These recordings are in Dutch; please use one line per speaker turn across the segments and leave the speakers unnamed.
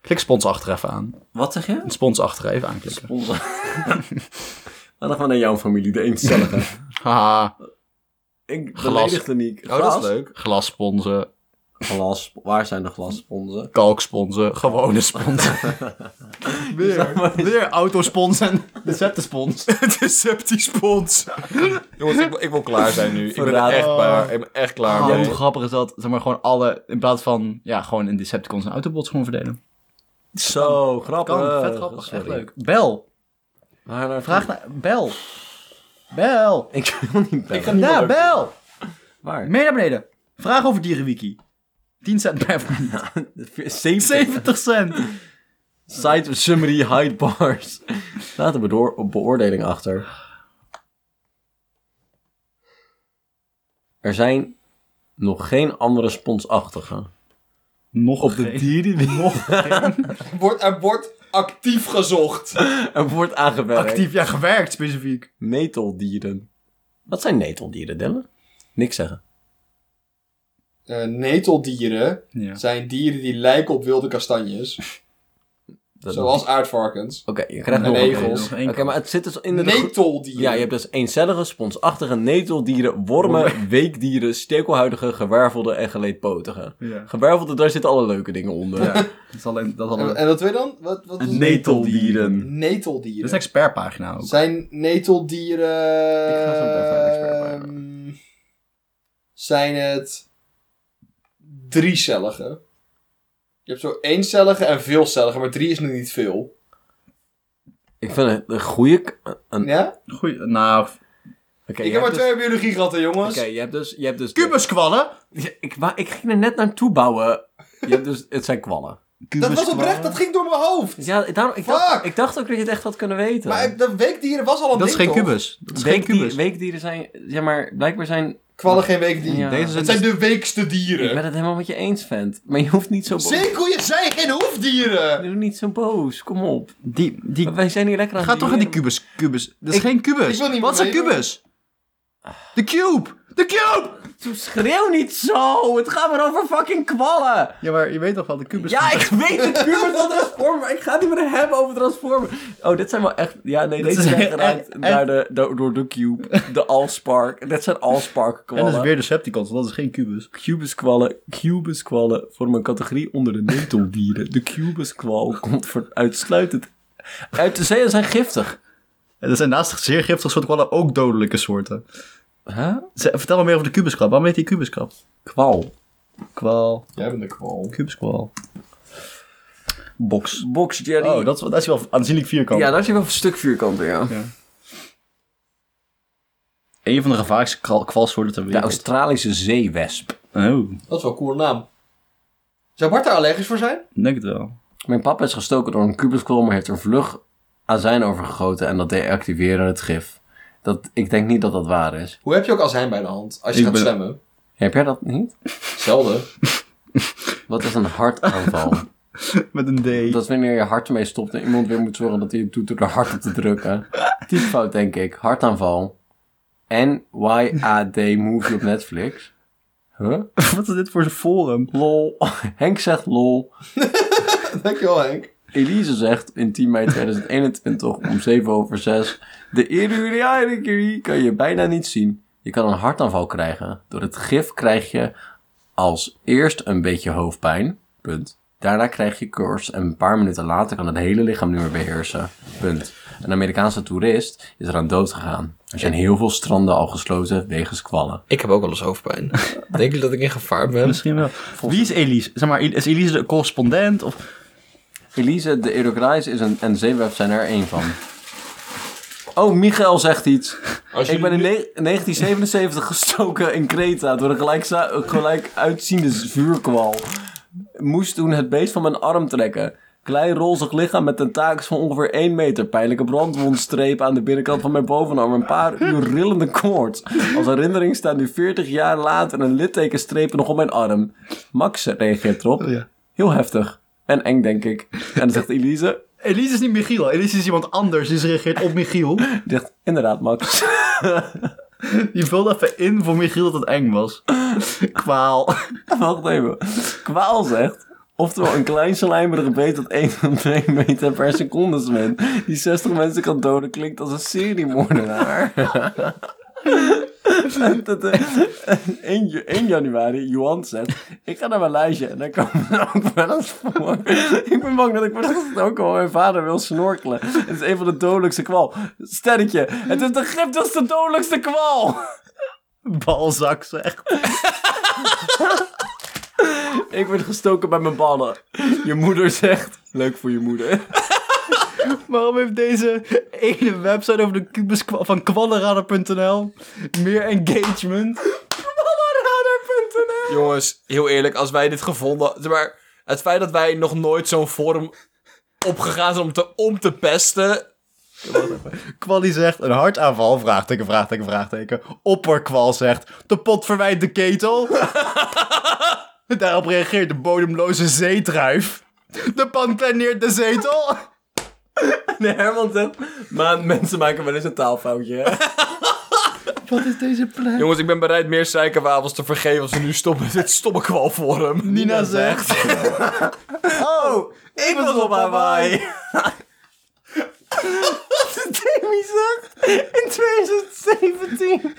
Klik spons achter even aan.
Wat zeg je?
Spons achter even aanklikken.
Sponsor. Laat dan gewoon naar jouw familie, de eencellige.
Haha.
Ik
Glas.
beledigde niet.
Oh, dat is leuk. Glassponsen,
Glas. Waar zijn de glassponsen?
kalksponsen, gewone sponsen. weer, weer autospons en deceptispons.
Deceptispons. Jongens, ik, wil- ik wil klaar zijn nu. Ik ben er
Verraden.
echt klaar. Ik ben echt klaar
Ja,
mee.
hoe grappig is dat? Zeg maar gewoon alle, in plaats van, ja, gewoon in Decepticons en Autobots gewoon verdelen.
Zo, grappig.
Kan, Oh, vet grappig,
Eh, Sorry.
echt leuk. Bel,
Maar naar
vraag naar, bel. Bel.
Ik wil niet bellen.
Ja, bel.
Waar?
Mee naar beneden. Vraag over dierenwiki. 10 cent per minuut.
7
70 cent.
Site summary hide bars. Laat een bedoor- beoordeling achter. Er zijn nog geen andere sponsachtige.
Nog
Op de dieren
Nog geen.
Wordt, er wordt actief gezocht.
Er wordt aangewerkt.
Actief, ja, gewerkt specifiek.
Neteldieren. Wat zijn neteldieren, Dylan? Niks zeggen.
Eh, neteldieren
Ja.
zijn dieren die lijken op wilde kastanjes.
Dat-
Zoals aardvarkens.
Oké, je krijgt
En
nog een
egels.
kans.
Nog één
Oké,
kans.
maar het zit dus in de...
Neteldieren.
Ja, je hebt dus eencellige, sponsachtige neteldieren, wormen, weekdieren, stekelhuidige, gewervelde en geleedpotige.
Ja.
Gewervelde, daar zitten alle leuke dingen onder.
Ja, dat is alleen... Dat is,
En,
alleen...
en wat weer dan? Wat, wat is het?
Neteldieren.
dat
Neteldieren.
is een expertpagina ook.
Zijn neteldieren...
Ik ga zo meteen even een expert bijhouden.
ehm, Zijn het... Driecellige. Je hebt zo eencellige en veelcellige, maar drie is nu niet veel.
Ik vind het een goede... k- Een...
Ja?
Goeie, nou...
Oké,
ik
je
heb maar
hebt dus-
twee jaar biologie gehad, hè, jongens.
Oké, je hebt dus... Je hebt dus
Kubuskwallen?
Ja, ik, wou- ik ging er net naartoe bouwen. Je hebt dus... Het zijn kwallen.
dus
Dat was oprecht, dat ging door mijn hoofd.
Dus ja, daarom, ik,
Fuck!
dacht, ik dacht ook dat je het echt had kunnen weten.
Maar ik- de weekdieren was al een
Dat is
ding,
geen
toch?
kubus. Dat is geen
Weekdier-
kubus.
weekdieren zijn... Ja, maar blijkbaar zijn...
Kwallen geen weekdieren.
Ja.
Deze
Het
zijn
zijn
dus-
de weekste
Ik ben
dieren.
het helemaal met je eens, vent. Maar je hoeft niet zo boos...
Zeker, je zijn geen hoefdieren.
Doe niet zo boos. Kom op.
Die, die...
Wij zijn hier lekker aan
Ga
het
toch in die
leren.
kubus, kubus. Dat is geen
ik
kubus.
wil niet
Wat is een
meedoen.
kubus? De cube! De cube!
Zo Schreeuw niet zo! Het gaat maar over fucking kwallen!
Ja, maar je weet toch wel, de kubus...
Ja, ik weet het puur van Transformer, maar ik ga het niet meer hebben over Transformer. Oh, dit zijn wel echt... Ja, nee, deze
is
zijn
echt-
geraakt
echt-
naar de, door, door de Cube, de Allspark. Dit zijn
En dat is
Allspark-kwallen.
weer Decepticons, want dat is geen kubus.
Cubus-kwallen, Cubus-kwallen vormen een categorie onder de neteldieren. De Cubus-kwal komt voor uitsluitend... Uit de zeeën zijn giftig.
En dat zijn naast zeer giftige soorten kwallen ook dodelijke soorten.
Huh?
Ze- Vertel me meer over de kubuskrab. Waarom heet die kubuskrab?
Kwal.
Kwal.
Jij bent een kwal.
Kubuskwal. Box.
Box Jelly.
Oh, dat is, dat is wel aanzienlijk vierkant.
Ja, daar is je wel een stuk vierkant weer, ja.
Een van de gevaarlijkste kral- kwalsoorten ter
De
wereld.
Australische zeewesp.
oh,
Dat is wel een coole naam. Zou Bart daar allergisch voor zijn?
ik denk het wel.
Mijn papa is gestoken door een kubuskwal, maar heeft er vlug azijn over gegoten en dat deactiveerde het gif. Dat, ik denk niet dat dat waar is.
Hoe heb je ook azijn bij de hand als je
Ik
gaat
ben-
zwemmen?
Heb jij dat niet?
Zelden.
Wat is een hartaanval?
Met een D.
dat is wanneer je hart ermee stopt en iemand weer moet zorgen dat hij het doet door er hard op te drukken. Typfout denk ik. Hartaanval. NYAD movie op Netflix. Huh?
Wat is dit voor een forum?
Lol. Henk zegt lol.
Dankjewel, Henk.
Elise zegt in 10 mei 2021 om 7 over 6... De Iruriairikiri kan je bijna niet zien. Je kan een hartaanval krijgen. Door het gif krijg je als eerst een beetje hoofdpijn. Punt. Daarna krijg je koorts en een paar minuten later kan het hele lichaam niet meer beheersen. Punt. Een Amerikaanse toerist is eraan dood gegaan. Er zijn heel veel stranden al gesloten wegens kwallen.
Ik heb ook wel eens hoofdpijn. Denk jullie dat ik in gevaar ben?
Misschien wel. Wie is Elise? Zeg maar, is Elise de correspondent? Of...
Elise, de Irugrais is een, en Zeeweb zijn er één van. Oh, Michael zegt iets.
Als
Ik ben in
jullie
ne- 1977 gestoken in Kreta door een gelijk, gelijk uitziende vuurkwal. Moest toen het beest van mijn arm trekken. Klein rozig lichaam met tentakels van ongeveer 1 meter. Pijnlijke brandwondstreep aan de binnenkant van mijn bovenarm. Een paar uur rillende koorts. Als herinnering staan nu 40 jaar later een littekenstreep nog op mijn arm. Max reageert erop.
ja.
Heel heftig. En eng, denk ik. En dan zegt Elise...
Elise is niet Michiel. Elise is iemand anders. Die reageert op Michiel.
Die zegt, inderdaad, Max.
Die vulde even in voor Michiel dat het eng was. Kwaal.
Wacht even. Kwaal zegt. Oftewel, een klein slijmerige beet dat 1 tot 2 meter per seconde zwemt. Die 60 mensen kan doden klinkt als een seriemoordenaar. 1, eh, ju- 1 januari, Johan zegt, ik ga naar Maleisië en daar komen er ook wel eens voor. ik ben bang dat ik misschien ook al mijn vader wil snorkelen. Het is een van de dodelijkste kwal. Sterretje, het is de giftigste dodelijkste kwal.
Balzak zegt.
Ik word gestoken bij mijn ballen. Je moeder zegt, leuk voor je moeder.
Waarom heeft deze ene website over de kubus kwa- van kwallenradar.nl meer engagement?
Jongens, heel eerlijk, als wij dit gevonden... zeg Maar het feit dat wij nog nooit zo'n forum opgegaan zijn om te, om te pesten...
Kwali zegt een hartaanval, vraagteken, vraagteken, vraagteken. Opperkwal zegt de pot verwijt de ketel. Daarop reageert de bodemloze zeetruif. De pan kleineert de zetel.
Nee, Herman zegt, maar mensen maken wel eens een taalfoutje. hè."
Wat is deze plek?
Jongens, ik ben bereid meer suikerwafels te vergeven als we nu stoppen met dit stomme kwalforum.
Nina zegt.
Oh, ik was op Hawaii. Demi zegt in 2017.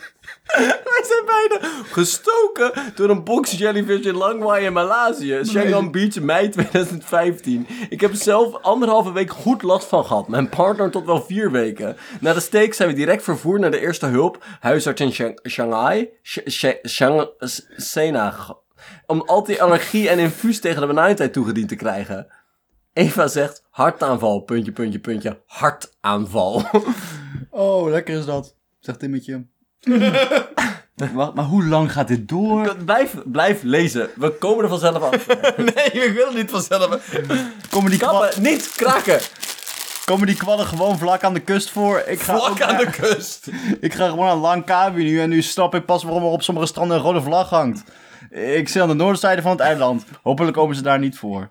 Wij zijn beide gestoken door een box jellyfish in Langwai in Maleisië. Shanghai Beach, mei 2015. Ik heb er zelf anderhalve week goed last van gehad. Mijn partner tot wel vier weken. Na de steek zijn we direct vervoerd naar de eerste hulp. Huisarts in Shang- Shanghai. Sh- Sh- Shang- S- Sena. Om al die allergie en infuus tegen de benauwdheid toegediend te krijgen. Eva zegt hartaanval, puntje, puntje, puntje, hartaanval.
Oh, lekker is dat, zegt Timmetje. Wacht, maar hoe lang gaat dit door?
blijf, blijf lezen, we komen er vanzelf af.
Nee, ik wil het niet vanzelf.
Komen die, kwa-
Kappen, niet kraken.
komen die kwallen gewoon vlak aan de kust voor? Ik ga, ook
Vlak aan
naar-
de kust.
ik ga gewoon naar Langkawi nu en nu snap ik pas waarom er op sommige stranden een rode vlag hangt. Ik zit aan de noordzijde van het eiland. Hopelijk komen ze daar niet voor.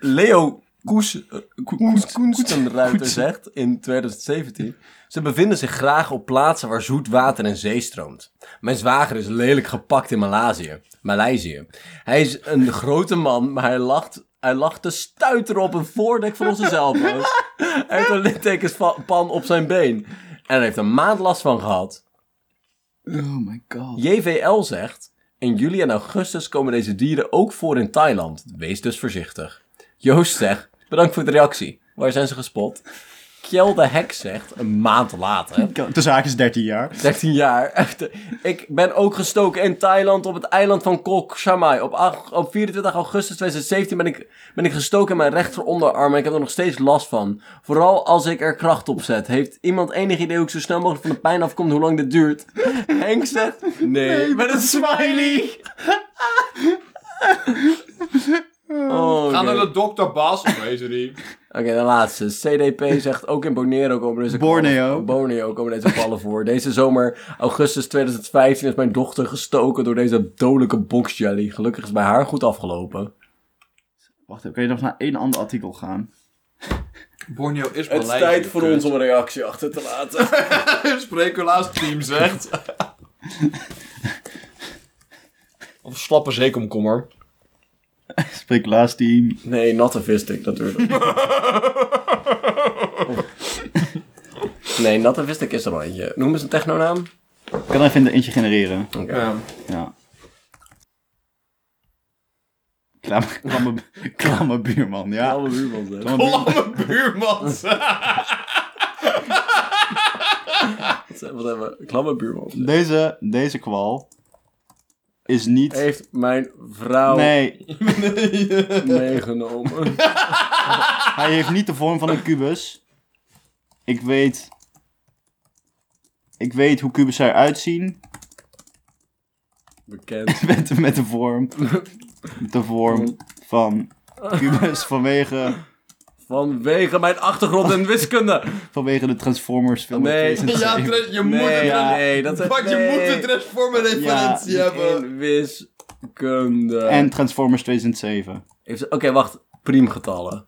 Leo Koes, eh, Ko- Koes, Koetsenruiter zegt in 2017... Ze bevinden zich graag op plaatsen waar zoet water en zee stroomt. Mijn zwager is lelijk gepakt in Maleisië. Maleisië. Hij is een grote man, maar hij lacht... Hij lacht te stuiteren op een voordek van onze zeilboot. Hij heeft een littekenspan op zijn been. En hij heeft een maand last van gehad.
Oh my god.
JVL zegt: In juli en augustus komen deze dieren ook voor in Thailand. Wees dus voorzichtig. Joost zegt: Bedankt voor de reactie. Waar zijn ze gespot? Kjell de Hek zegt: Een maand later.
Tussen haakjes 13 jaar.
13 jaar. Echt, Ik ben ook gestoken in Thailand op het eiland van Koh Samui. Op, ach- op 24 augustus 2017 ben ik, ben ik gestoken in mijn rechteronderarm en ik heb er nog steeds last van. Vooral als ik er kracht op zet. Heeft iemand enig idee hoe ik zo snel mogelijk van de pijn afkom hoe lang dit duurt? Henk zegt... Nee, met een smiley! Oh,
Ga
oké.
naar de dokter, Bas. Nee, sorry.
Oké, de laatste. CDP zegt ook in Borneo komen deze
Borneo.
Kwallen, oh, Borneo komen deze kwallen voor. Deze zomer, augustus 2015, is mijn dochter gestoken door deze dodelijke boxjelly. Gelukkig is bij haar goed afgelopen.
Wacht even, kan je nog naar één ander artikel gaan?
Borneo is
om een reactie achter te laten.
Sprekulaas team zegt.
Of slappe zeekomkommer.
Spreek laatst team.
Nee, not a vistic natuurlijk. nee, not a vistic is er al eentje. Noem eens een technonaam.
Ik kan er even eentje genereren.
Ja.
Ja. Klamme, klamme, klamme buurman, ja.
Alle buurman zegt.
Klamme buurman.
Lamme buurman.
Wat hebben we? Klamme buurman. zegt.
Deze, deze kwal is niet...
Heeft mijn vrouw
Nee,
meegenomen.
hij heeft niet de vorm van een kubus. Ik weet... Ik weet hoe kubussen eruit zien.
Bekend.
Met, met de vorm... De vorm van kubus vanwege...
Vanwege mijn achtergrond in wiskunde.
Vanwege de Transformers film.
Nee.
Ja, Dres, je moet
Nee,
het
ja,
Dres-
nee, dat is...
Fuck, je
nee.
moet het Dres voor mijn referentie
Ja,
hebben.
In wiskunde.
En Transformers 2007.
Heeft- Oké, wacht. Priemgetallen.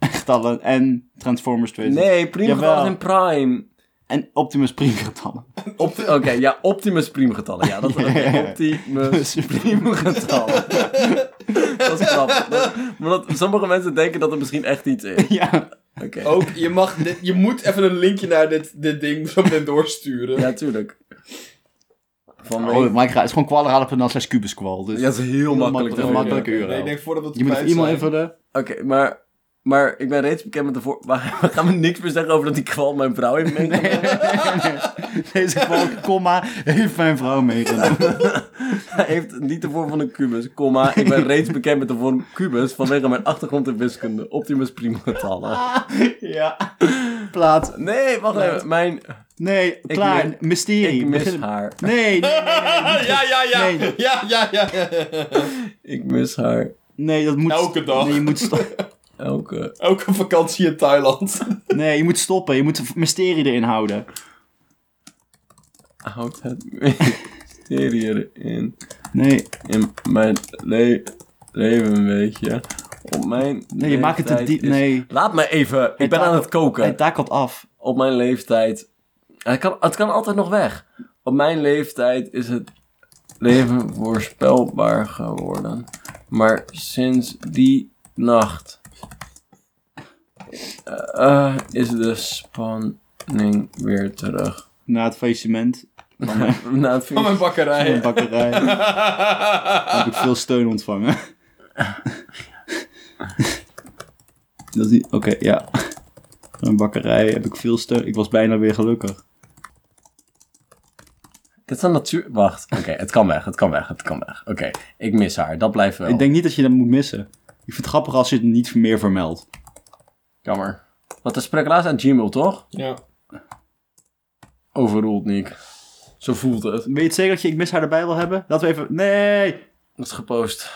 Getallen en Transformers 2007.
Nee, priemgetallen
Jawel.
zijn prime.
En Optimus Prime getallen.
Opt- Oké, ja, optimus priemgetallen. Ja, dat is
Ja.
Optimus priemgetallen. dat is grappig. Dat- maar dat, sommige mensen denken dat er misschien echt iets is.
Ja.
Oké.
Ook, je, mag dit- je moet even een linkje naar dit, dit ding zo meteen doorsturen.
Ja, tuurlijk. Van mij.
Oh, maar ik ga, het is gewoon kwalraden.nl slash kubuskwal. Dus
Ja, dat is heel makkelijk.
makkelijk-
te
makkelijk.
vinden.
URL.
Nee, ik denk voordat we het
je moet
kwijt
even e-mail
zijn.
invullen.
Oké, maar, maar ik ben reeds bekend met de voor... Maar we gaan me niks meer zeggen over dat die kwal mijn vrouw heeft meegenomen.
Deze kwal, komma, heeft mijn vrouw meegenomen.
Hij heeft niet de vorm van een kubus, comma. Ik ben reeds bekend met de vorm kubus vanwege mijn achtergrond in wiskunde. Optimus prima getallen.
ja. Plaat.
Nee, wacht even. Mijn...
Nee, klaar.
mis-
Mysterie.
Ik mis
Begin-
haar.
Nee, nee, nee, nee,
Ah, ja, ja, ja.
Nee.
Ja, ja, ja.
Ik mis haar.
nee, dat moet...
Elke dag.
Nee, je moet stoppen.
Elke...
Ook een vakantie in Thailand.
Nee, je moet stoppen. Je moet mysterie erin houden.
Houdt het mysterie erin.
Nee,
In mijn le- leven een beetje. Op mijn
nee je maakt het te
leeftijd
diep.
is-
Nee,
Laat me even. Ik ben aan het koken.
hij takelt af.
op mijn leeftijd. Het kan, het kan altijd nog weg. Op mijn leeftijd is het leven voorspelbaar geworden. Maar sinds die nacht eh, eh, is de spanning weer terug.
Na het faillissement
Na het
Van Oh mijn
van de
bakkerij.
bakkerij heb ik veel steun ontvangen. Dat is niet... Oké, ja. Van de bakkerij heb ik veel steun. Ik was bijna weer
Oh.
gelukkig.
Dit is een natuur... Wacht, oké, het kan weg, het kan weg, het kan weg. Oké, ik mis haar, dat blijft wel.
Ik denk niet dat je dat moet missen. Ik vind het grappig als je het niet meer vermeldt.
Jammer. Want de sprak laatst aan Gmail, toch?
Ja.
Overroeld, Nick. Zo voelt het.
Weet je het zeker dat je ik mis haar erbij wil hebben? Laten we even... Nee!
Dat is gepost.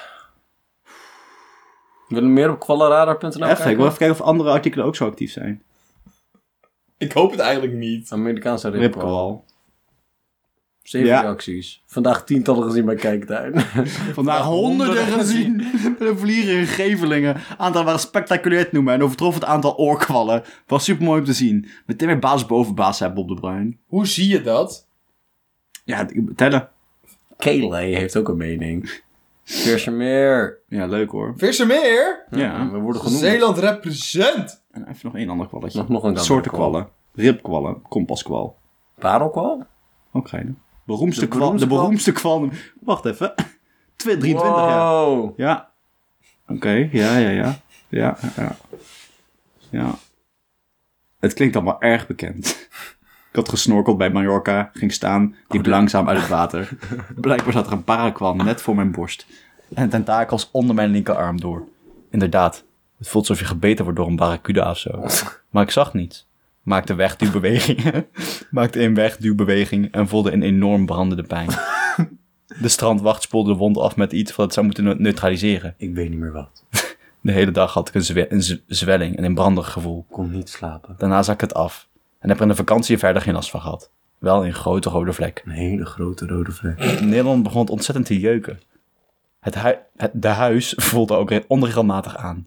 Wil je meer op kwallenradar.nl
even, ik wil
kijken?
even kijken of andere artikelen ook zo actief zijn.
Ik hoop het eigenlijk niet.
Amerikaanse ripkwal.
Ripkwal.
Zeven
Ja.
reacties. Vandaag tientallen gezien bij Kijktuin.
Vandaag honderden
honderden
gezien. Met een vliegen in Gevelingen. Aantal waren spectaculair te noemen en overtrof het aantal oorkwallen. Was super mooi om te zien. Meteen weer baas boven baas, zei Bob de Bruin.
Hoe zie je dat?
Ja, ik- tellen.
Kayley heeft ook een mening. Kirsten meer.
Ja, leuk hoor.
Vissermeer?
Ja.
We worden genoemd.
Zeeland represent.
En even nog één ander kwalletje.
Nog- nog een ander
Soorten
kwal.
kwallen. Ribkwallen. Kompaskwal.
Parelkwal?
Ook geinig. Beroemdste
De
kwal. De
beroemdste kwal.
beroemdste kwal. Wacht even. Twee- 23 jaar.
Wow.
Ja. Oké, ja, ja, ja. Ja, ja. Ja. Het klinkt allemaal erg bekend. Ik had gesnorkeld bij Mallorca, ging staan, liep langzaam uit het water. Blijkbaar zat er een parakwal net voor mijn borst. En tentakels onder mijn linkerarm door. Inderdaad, het voelt alsof je gebeten wordt door een barracuda of zo. Maar ik zag niets. Maakte wegduwbewegingen. Maakte een wegduwbeweging en voelde een enorm brandende pijn. De strandwacht spoelde de wond af met iets wat het zou moeten ne- neutraliseren.
Ik weet niet meer wat.
De hele dag had ik een, zwe- een z- zwelling en een brandig gevoel.
Kon niet slapen.
Daarna zak het af en heb er in de vakantie verder geen last van gehad. Wel een grote rode vlek.
Een hele grote rode vlek.
Nederland begon het ontzettend te jeuken. Het hui- het, de huis voelde ook re- onregelmatig aan.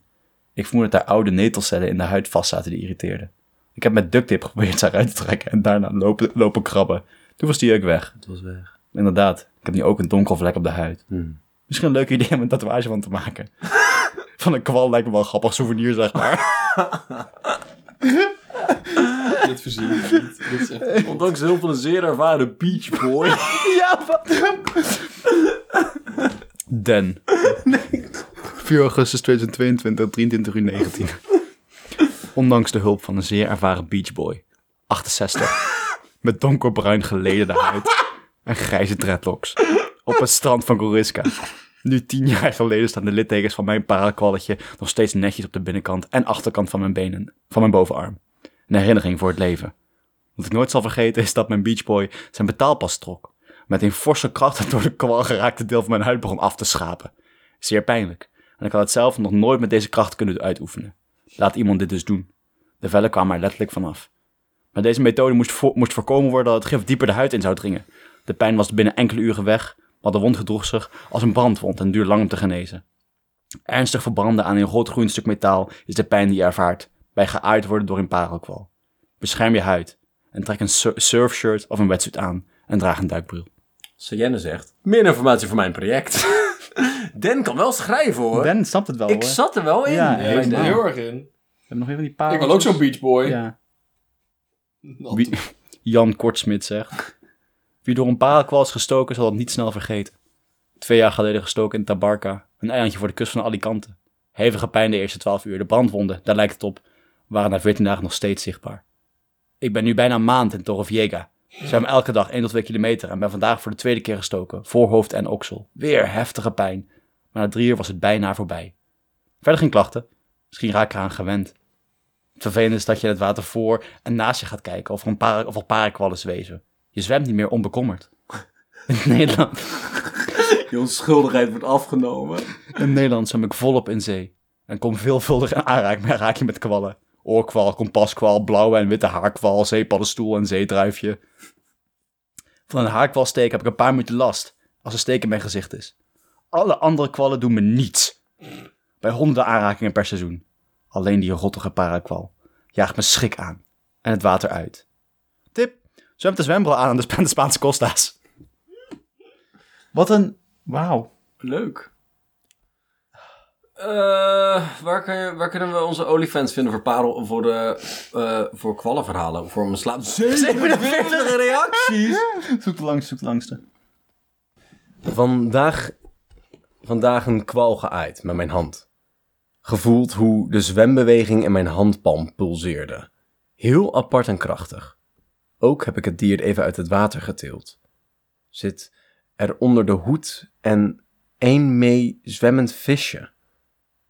Ik vermoed dat daar oude netelcellen in de huid vastzaten die irriteerden. Ik heb met duct tape geprobeerd ze eruit te trekken en daarna lopen, lopen krabben. Toen was die jeuk weg.
Het was weg.
Inderdaad, ik heb nu ook een donkere vlek op de huid.
Hmm.
Misschien een leuk idee om een tatoeage van te maken. Van een kwal lijkt me wel een grappig souvenir, zeg maar.
Dit verzin ik niet. Dit is echt...
Ondanks heel veel een zeer ervaren beach boy.
Dan. 4 augustus 2022, 23 uur 19.
Ondanks de hulp van een zeer ervaren beachboy.
68. Met donkerbruin gelederde huid en grijze dreadlocks. Op het strand van Goriska. Nu tien jaar geleden staan de littekens van mijn parakwalletje nog steeds netjes op de binnenkant en achterkant van mijn benen, van mijn bovenarm. Een herinnering voor het leven. Wat ik nooit zal vergeten is dat mijn beachboy zijn betaalpas trok. Met een forse kracht het door de kwal geraakte deel van mijn huid begon af te schapen. Zeer pijnlijk. En ik had het zelf nog nooit met deze kracht kunnen uitoefenen. Laat iemand dit dus doen. De vellen kwamen er letterlijk vanaf. Met deze methode moest, vo- moest voorkomen worden dat het gif dieper de huid in zou dringen. De pijn was binnen enkele uren weg, maar de wond gedroeg zich als een brandwond en duurde lang om te genezen. Ernstig verbranden aan een roodgroen stuk metaal is de pijn die je ervaart bij geaaid worden door een parelkwal. Bescherm je huid en trek een sur- surfshirt of een wetsuit aan en draag een duikbril.
Sayenne zegt, meer informatie voor mijn project. Den kan wel schrijven hoor.
Ben snapt het wel,
ik
hoor.
zat er wel in.
Ja,
bij
heel
Den.
zit er
Ja.
heel erg in.
We hebben nog even die paar...
Ik wil ook zo'n Beach Boy.
Ja.
Not-
Wie- Jan Kortsmit zegt... Wie door een parakwal is gestoken, zal het niet snel vergeten. Twee jaar geleden gestoken in Tabarka. Een eilandje voor de kust van Alicante. Hevige pijn de eerste twaalf uur. De brandwonden, daar lijkt het op, waren na veertien dagen nog steeds zichtbaar. Ik ben nu bijna een maand in Torrevieja. Zwem elke dag 1 tot 2 kilometer en ben vandaag voor de tweede keer gestoken. Voorhoofd en oksel. Weer heftige pijn. Maar na drie uur was het bijna voorbij. Verder geen klachten. Misschien raak ik eraan gewend. Het vervelende is dat je het water voor en naast je gaat kijken of er, een para, of er parakwallen zweven. Je zwemt niet meer onbekommerd. In Nederland,
Je onschuldigheid wordt afgenomen.
in Nederland zwem ik volop in zee. En kom veelvuldig in aanraking met, aanraking met kwallen. Oorkwal, kompaskwal, blauwe en witte haarkwal, zeepaddenstoel en zeedruifje. Van een haarkwalsteek heb ik een paar minuten last als een steek in mijn gezicht is. Alle andere kwallen doen me niets. Bij honderden aanrakingen per seizoen. Alleen die rottige parakwal jaagt me schrik aan en het water uit. Tip, zwem de zwembril aan aan de, Spa- aan de Spaanse costa's. Wat een... Wauw.
Leuk. Eh, waar, kun je- waar kunnen we onze olifants vinden voor parel, voor, de, eh voor kwallenverhalen? Of voor mijn slaap? 47 reacties!
Zoek de langste, zoek de langste.
Vandaag, vandaag een kwal geaaid met mijn hand. Gevoeld hoe de zwembeweging in mijn handpalm pulseerde. Heel apart en krachtig. Ook heb ik het dier even uit het water getild. Zit er onder de hoed en één mee zwemmend visje.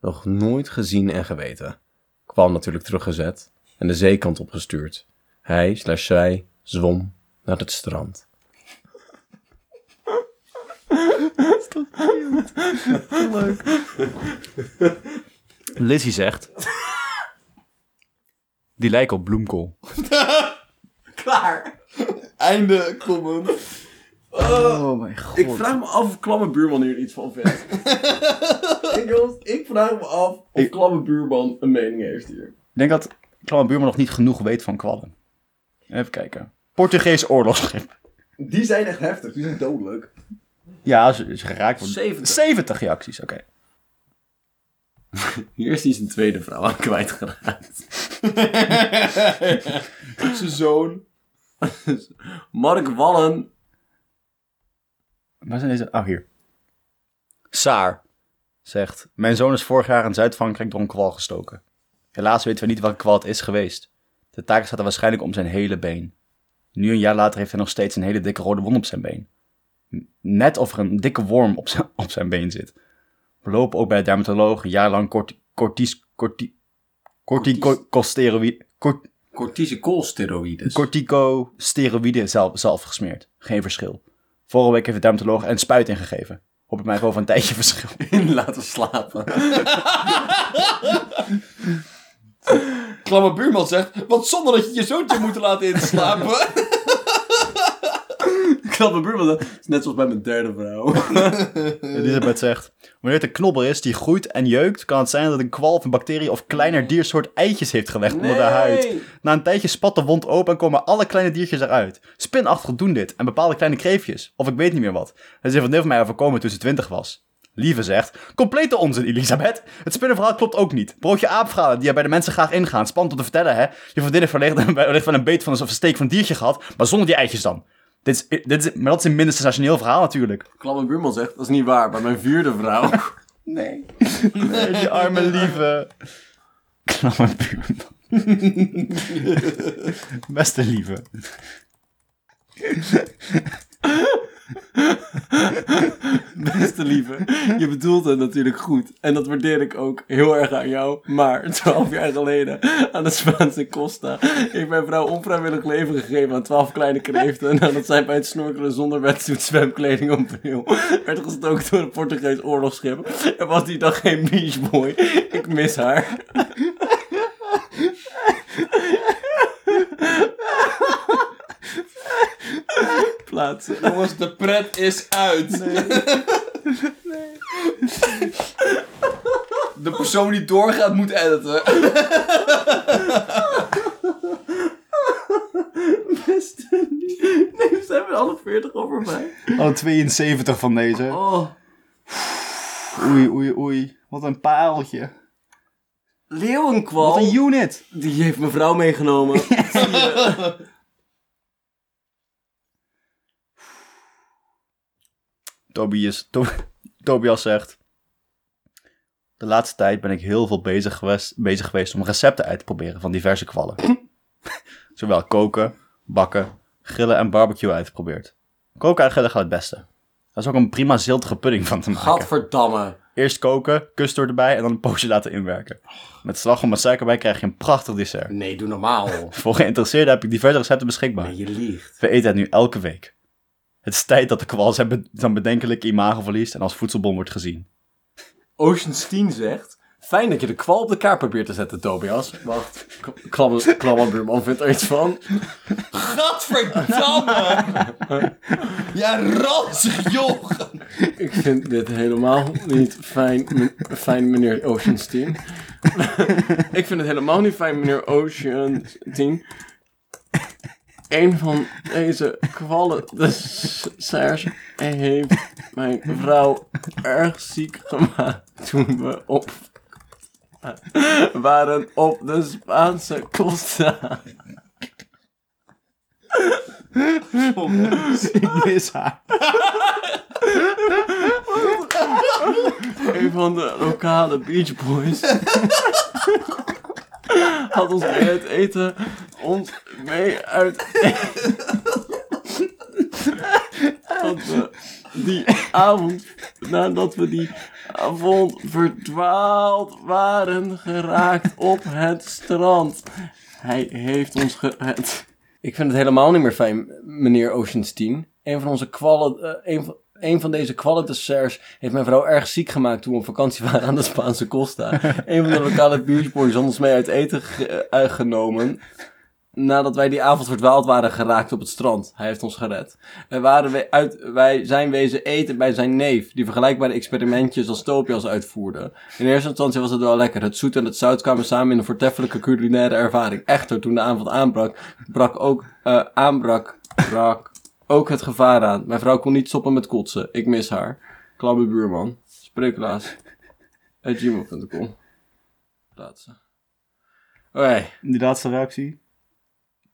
Nog nooit gezien en geweten. Kwal natuurlijk teruggezet en de zeekant opgestuurd. Hij slash zij zwom naar het strand.
Lizzie zegt... Die lijken op bloemkool.
Klaar.
Einde comment.
Oh mijn god.
Ik vraag me af of klamme buurman hier iets van vindt. ik, ik vraag me af of klamme buurman een mening heeft hier.
Ik denk dat Klamme Buurman nog niet genoeg weet van kwallen. Even kijken. Portugees oorlogsschip.
Die zijn echt heftig, die zijn dodelijk.
Ja, ze, ze geraakt worden.
70.
70 reacties, oké.
Hier is hij zijn tweede vrouw aan kwijtgeraakt.
Zijn zoon.
Mark Wallen.
Waar zijn deze? Oh, hier. Saar zegt: Mijn zoon is vorig jaar in Zuid-Frankrijk door een kwal gestoken. Helaas weten we niet welke kwal het is geweest. De taak staat er waarschijnlijk om zijn hele been. Nu een jaar later heeft hij nog steeds een hele dikke rode wond op zijn been. N- Net of er een dikke worm op zijn, op zijn been zit. We lopen ook bij de dermatoloog een jaar lang corti, cortis, corti, corticosteroïden cort,
Corticosteroïdes.
corticosteroïden zelf, zelf gesmeerd. Geen verschil. Vorige week heeft de dermatoloog een spuit ingegeven. Hoop ik mij gewoon van een tijdje verschil.
in laten slapen.
Klamme buurman zegt, wat zonde dat je je zoontje moet laten inslapen.
Ik had mijn buurman dat is net zoals bij mijn derde vrouw.
Elisabeth zegt: Wanneer het een knobber is die groeit en jeukt, kan het zijn dat het een kwal of een bacterie of kleiner diersoort eitjes heeft gelegd onder de huid. Na een tijdje spat de wond open en komen alle kleine diertjes eruit. Spinachtig doen dit en bepaalde kleine kreefjes, of ik weet niet meer wat. Het is een deel van mij overkomen toen ze 20 was. Lieve zegt, complete onzin Elisabeth. Het spinnenverhaal klopt ook niet. Broodje aapverhalen die er bij de mensen graag ingaan. Spannend om te vertellen hè. Je vriendin heeft wellicht wellicht wel een beet van een of een steek van een diertje gehad, maar zonder die eitjes dan. Dit is, dit is, maar dat is een minder sensationeel verhaal natuurlijk.
Klamme buurman zegt, dat is niet waar, bij mijn vierde vrouw.
Nee. die arme lieve. Klamme buurman. Beste lieve.
Beste lieve, je bedoelt het natuurlijk goed. En dat waardeer ik ook heel erg aan jou. Maar 12 jaar geleden, aan de Spaanse Costa, heeft mijn vrouw onvrijwillig leven gegeven aan 12 kleine kreeften. Nadat zij bij het snorkelen zonder wetsuit, zwemkleding en bril werd gestoken door een Portugees oorlogsschip. Er was die dag geen beach boy. Ik mis haar. Plaatsen.
Jongens, de pret is uit. De persoon die doorgaat moet editen.
Beste lieve. Nee,
Oh,
ze hebben alle 40 over mij.
Al 72 van deze.
Oh.
Oei, oei, oei. Wat een paaltje.
Leeuwenkwal?
Wat een unit.
Die heeft mevrouw meegenomen.
Tobias, To- Tobias zegt... De laatste tijd ben ik heel veel bezig geweest, bezig geweest om recepten uit te proberen van diverse kwallen. Zowel koken, bakken, grillen en barbecue uitgeprobeerd. Koken en grillen gaat het beste. Daar is ook een prima ziltige pudding van te maken.
Gadverdamme.
Eerst koken, custard erbij en dan een poosje laten inwerken. Met slagroom en suiker bij krijg je een prachtig dessert.
Nee, doe normaal.
Voor geïnteresseerden heb ik diverse recepten beschikbaar.
Je liegt.
We eten het nu elke week. Het is tijd dat de kwal zijn, be- zijn bedenkelijke imago verliest en als voedselbom wordt gezien.
Ocean's 10 zegt... Fijn dat je de kwal op de kaart probeert te zetten, Tobias. Wacht, k- klamme, klamme buurman vindt er iets van.
Gadverdamme! ja, ranzig joh!
Ik vind dit helemaal niet fijn, m- fijn meneer Ocean's 10. ik vind het helemaal niet fijn, meneer Ocean's 10. Een van deze kwallen desserts heeft mijn vrouw erg ziek gemaakt toen we op waren op de Spaanse Costa.
Ik mis haar.
Een van de lokale Beach Boys. had ons bij het eten ons mee uit. Want we die avond, nadat we die avond verdwaald waren geraakt op het strand. Hij heeft ons gered. Ik vind het helemaal niet meer fijn, meneer Ocean's 10. Een van onze kwallen, eh, een, van- een van deze kwallen desserts heeft mijn vrouw erg ziek gemaakt toen we op vakantie waren aan de Spaanse Costa. een van de lokale buurtboys had ons mee uit eten ge- eh, uitgenomen. Nadat wij die avond verdwaald waren geraakt op het strand. Hij heeft ons gered. Wij, waren we uit, wij zijn wezen eten bij zijn neef, die vergelijkbare experimentjes als Topias uitvoerde. In eerste instantie was het wel lekker. Het zoet en het zout kwamen samen in een voortreffelijke culinaire ervaring. Echter, toen de aanval aanbrak, brak ook, eh, aanbrak, brak ook het gevaar aan. Mijn vrouw kon niet stoppen met kotsen. Ik mis haar. Klamme buurman. Spreeklaas. At gmail.com. Plaatsen. Oké.
Die laatste reactie.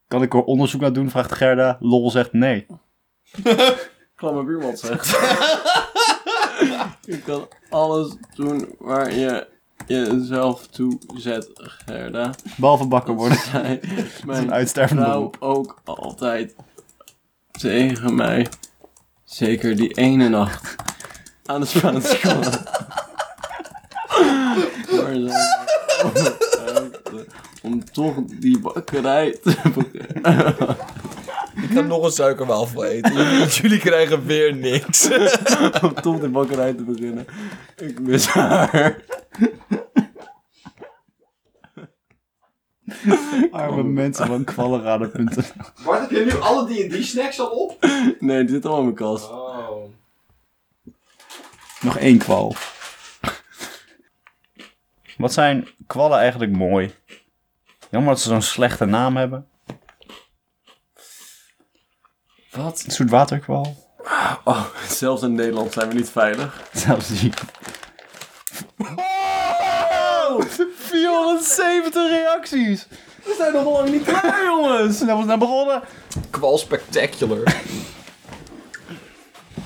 Kan ik er onderzoek naar doen? Vraagt Gerda. Lol zegt nee.
klamme buurman zegt. je kan alles doen waar je jezelf toe zet, Gerda.
Behalve bakken worden.
Zij,
Een
mijn
uitstervende
vrouw
beroep.
ook altijd tegen mij. Zeker die ene nacht. Aan de Spaanse school. Waar zij mij overtuigde eh, om toch die bakkerij te beginnen.
Ik ga nog een suikerwafel eten. Jullie- Jullie krijgen weer niks.
Om toch die bakkerij te beginnen. Ik mis haar.
Arme mensen van kwallenraden.nl
Bart, heb je nu alle D&D-snacks al op?
Nee, dit zit allemaal in mijn kast.
Oh.
Nog één kwal. Wat zijn kwallen eigenlijk mooi? Jammer dat ze zo'n slechte naam hebben.
Wat?
Een zoetwaterkwal.
Oh, zelfs in Nederland zijn we niet veilig.
Zelfs die. 470 reacties!
We zijn nog lang niet klaar, jongens!
Dat was naar begonnen.
Kwal spectacular.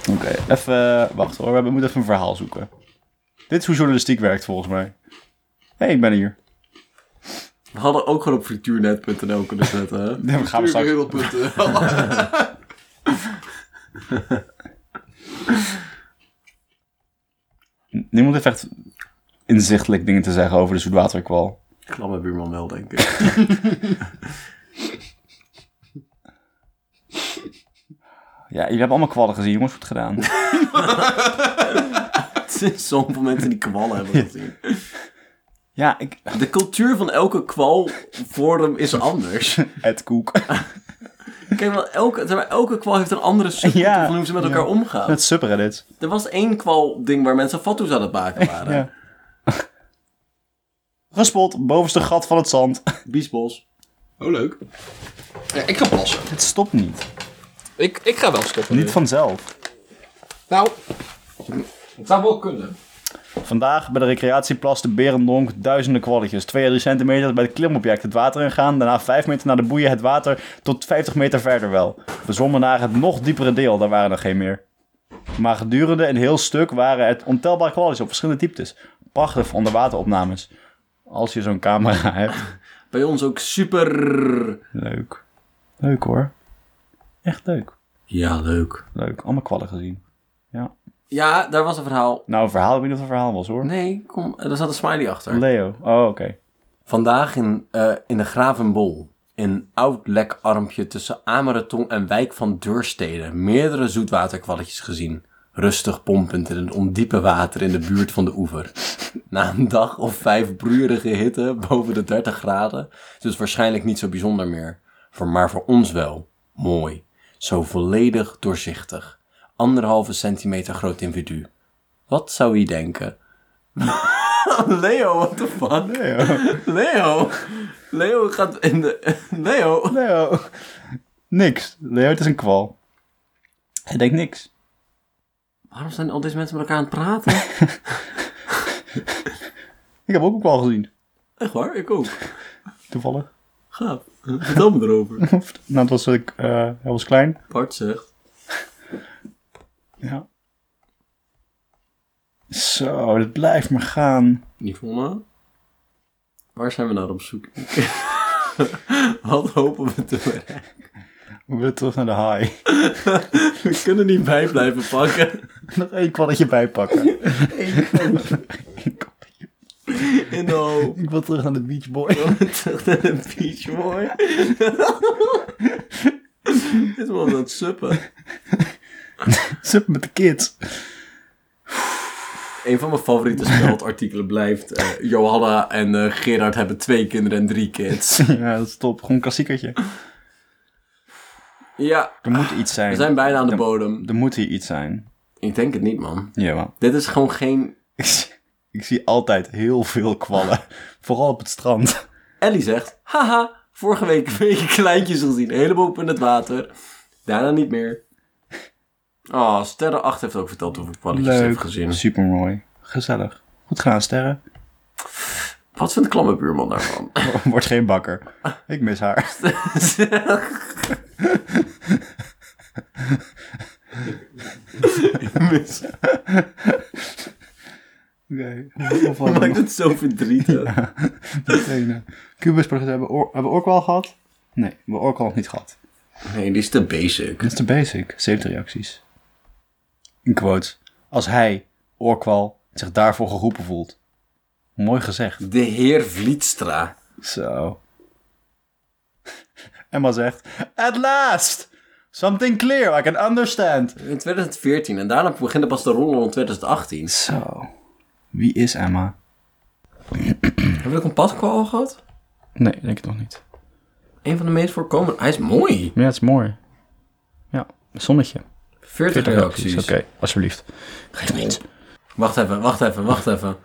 Oké, even eh, wacht hoor. We hebben- moeten even een verhaal zoeken. Dit is hoe journalistiek werkt volgens mij. Hé, hey, ik ben hier.
We hadden ook gewoon op frituurnet.nl kunnen zetten, hè?
Nee, we gaan we straks. Niemand heeft echt inzichtelijk dingen te zeggen over de zoetwaterkwal.
Klamme buurman wel, denk ik.
Ja, jullie hebben allemaal kwallen gezien, jongens. Goed gedaan.
Het zijn sommige mensen die kwallen hebben gezien.
ja, ik...
De cultuur van elke kwalvorm is anders.
Het koek.
Kijk, want elke, zeg maar, elke kwal heeft een andere subcultuur
Ja,
van hoe ze met
ja.
elkaar omgaan.
Met subreddits.
Er was één kwal-ding waar mensen fatsoes aan het maken waren.
Ja. Gespot, bovenste gat van het zand.
Biesbos.
Oh, leuk. Ja, ik ga passen.
Het stopt niet.
Ik, ik ga wel stoppen.
Niet vanzelf.
Nou. Het zou wel kunnen.
Vandaag bij de recreatieplas de Berendonk duizenden kwalletjes. 2 à 3 centimeter bij het klimobject het water ingaan. Daarna 5 meter naar de boeien het water tot 50 meter verder wel. We zwommen naar het nog diepere deel, daar waren er geen meer. Maar gedurende een heel stuk waren het ontelbaar kwalletjes op verschillende dieptes. Prachtig voor onderwateropnames. Als je zo'n camera hebt.
Bij ons ook super.
Leuk. Leuk hoor. Echt leuk.
Ja, leuk.
Leuk. Allemaal kwallen gezien.
Ja, daar was een verhaal.
Nou, een verhaal. Ik weet niet of het een verhaal was hoor.
Nee, kom, daar zat een smiley achter.
Leo. Oh, oké.
Vandaag in, eh, in de Gravenbol. Een oud lekarmpje tussen Amerenton en Wijk van Deurstede. Meerdere zoetwaterkwalletjes gezien. Rustig pompend in het ondiepe water in de buurt van de oever. Na een dag of vijf broeierige hitte boven de 30 graden is het waarschijnlijk niet zo bijzonder meer. Voor, maar voor ons wel. Mooi. Zo volledig doorzichtig. Anderhalve centimeter groot individu. Wat zou u denken? Leo, what the fuck? Leo. Leo gaat in de. Leo.
Leo. Niks. Leo, het is een kwal. Hij denkt niks.
Waarom zijn al deze mensen met elkaar aan het praten?
Ik heb ook een kwal gezien.
Echt waar, ik ook.
Toevallig.
Gaaf. Vertel me erover.
Nou, het was, ik, eh, hij was klein.
Bart zegt.
Ja. Zo, dat blijft maar gaan.
Yvonne. Waar zijn we naar op zoek? Wat hopen we te bereiken?
We willen terug naar de haai.
We kunnen niet bij blijven pakken.
Nog één kwalletje bijpakken.
In de hoop.
Ik wil terug naar de Beach Boy.
Terug naar de beach, mooi. Dit was aan het suppen.
Zit met de kids.
Een van mijn favoriete speldartikelen blijft. eh, Johanna en eh, Gerard hebben twee kinderen en drie kids.
Ja, dat is top. Gewoon een klassiekertje.
ja,
Er moet iets zijn.
we zijn bijna aan de
Er-
bodem.
Er moet hier iets zijn.
Ik denk het niet, man.
Jawel.
Dit is gewoon geen.
Ik zie, ik zie altijd heel veel kwallen. Vooral op het strand.
Ellie zegt: Haha, vorige week een beetje kleintjes gezien. Een heleboel op in het water. Daarna niet meer. Oh, Sterre 8 heeft ook verteld over kwalletjes heeft gezien.
Super mooi. Gezellig. Goed gedaan, sterren.
Wat vindt Klamme Buurman daarvan?
Wordt geen bakker. Ik mis haar.
Ik mis
Oké.
Dat maakt het zo verdrietig.
Kubusburgers hebben, oor, hebben we al gehad? Nee, we hebben orkwal nog niet gehad.
Nee, die is te basic.
Dat is de basic. 70 reacties. In quotes. Als hij, Orkwal, zich daarvoor geroepen voelt. Mooi gezegd.
De heer Vlietstra.
Zo. Emma zegt... At last! Something clear I can understand.
In 2014 en daarna beginnen pas de rollen in 2018.
Zo. Wie is Emma?
Hebben we ook een paskwal al gehad?
Nee, denk ik nog niet.
Een van de meest voorkomende. Hij is mooi.
Maar ja, het is mooi. Ja, zonnetje.
40 reacties.
Oké, alsjeblieft. Geef niet.
Wacht even, wacht even, wacht even.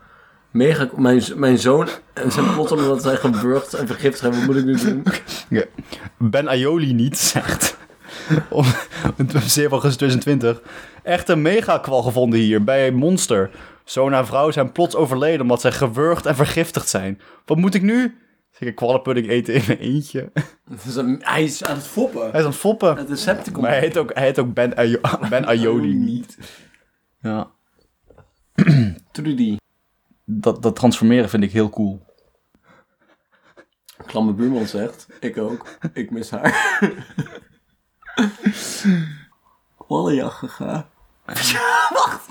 Mega, mijn, z- mijn zoon en zijn pot omdat zij geburgd en vergiftigd hebben. Wat moet ik nu doen?
Ja. Ben Aioli niet, zegt. Op 7 augustus 2020. Echt een megakwal gevonden hier bij Monster. Zoon en vrouw zijn plots overleden omdat zij gewurgd en vergiftigd zijn. Wat moet ik nu? Zeker kwallenpudding eten in mijn eentje.
Het is een- hij is aan het foppen.
Hij is aan het foppen.
Het Decepticon.
Maar hij heet ook, hij heet ook ben, Aio ben Aioli niet.
Ja,
Trudy.
dat, dat transformeren vind ik heel cool.
Klamme buurman zegt. Ik ook. Ik mis haar. kwallenjacht gegaan. Ja, wacht.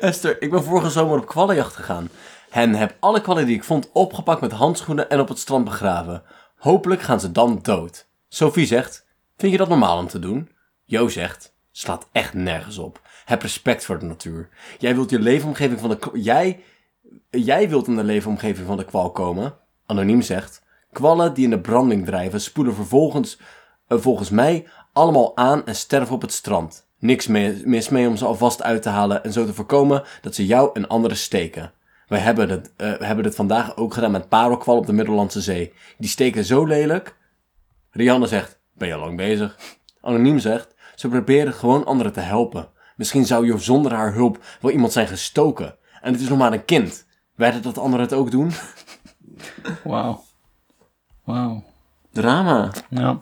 Esther, ik ben vorige zomer op kwallenjacht gegaan. En heb alle kwallen die ik vond opgepakt met handschoenen en op het strand begraven. Hopelijk gaan ze dan dood. Sophie zegt, vind je dat normaal om te doen? Jo zegt, slaat echt nergens op. Heb respect voor de natuur. Jij wilt je leefomgeving van de... kwa- Jij Jij wilt in de leefomgeving van de kwal komen. Anoniem zegt. Kwallen die in de branding drijven spoelen vervolgens, eh, volgens mij, allemaal aan en sterven op het strand. Niks me- mis mee om ze alvast uit te halen en zo te voorkomen dat ze jou en anderen steken. Wij hebben het, eh, hebben het vandaag ook gedaan met parelkwal op de Middellandse Zee. Die steken zo lelijk. Rianne zegt, ben je al lang bezig? Anoniem zegt, ze proberen gewoon anderen te helpen. Misschien zou je zonder haar hulp wel iemand zijn gestoken. En het is nog maar een kind. Werden dat anderen het ook doen?
Wauw. Wauw.
Drama.
Ja.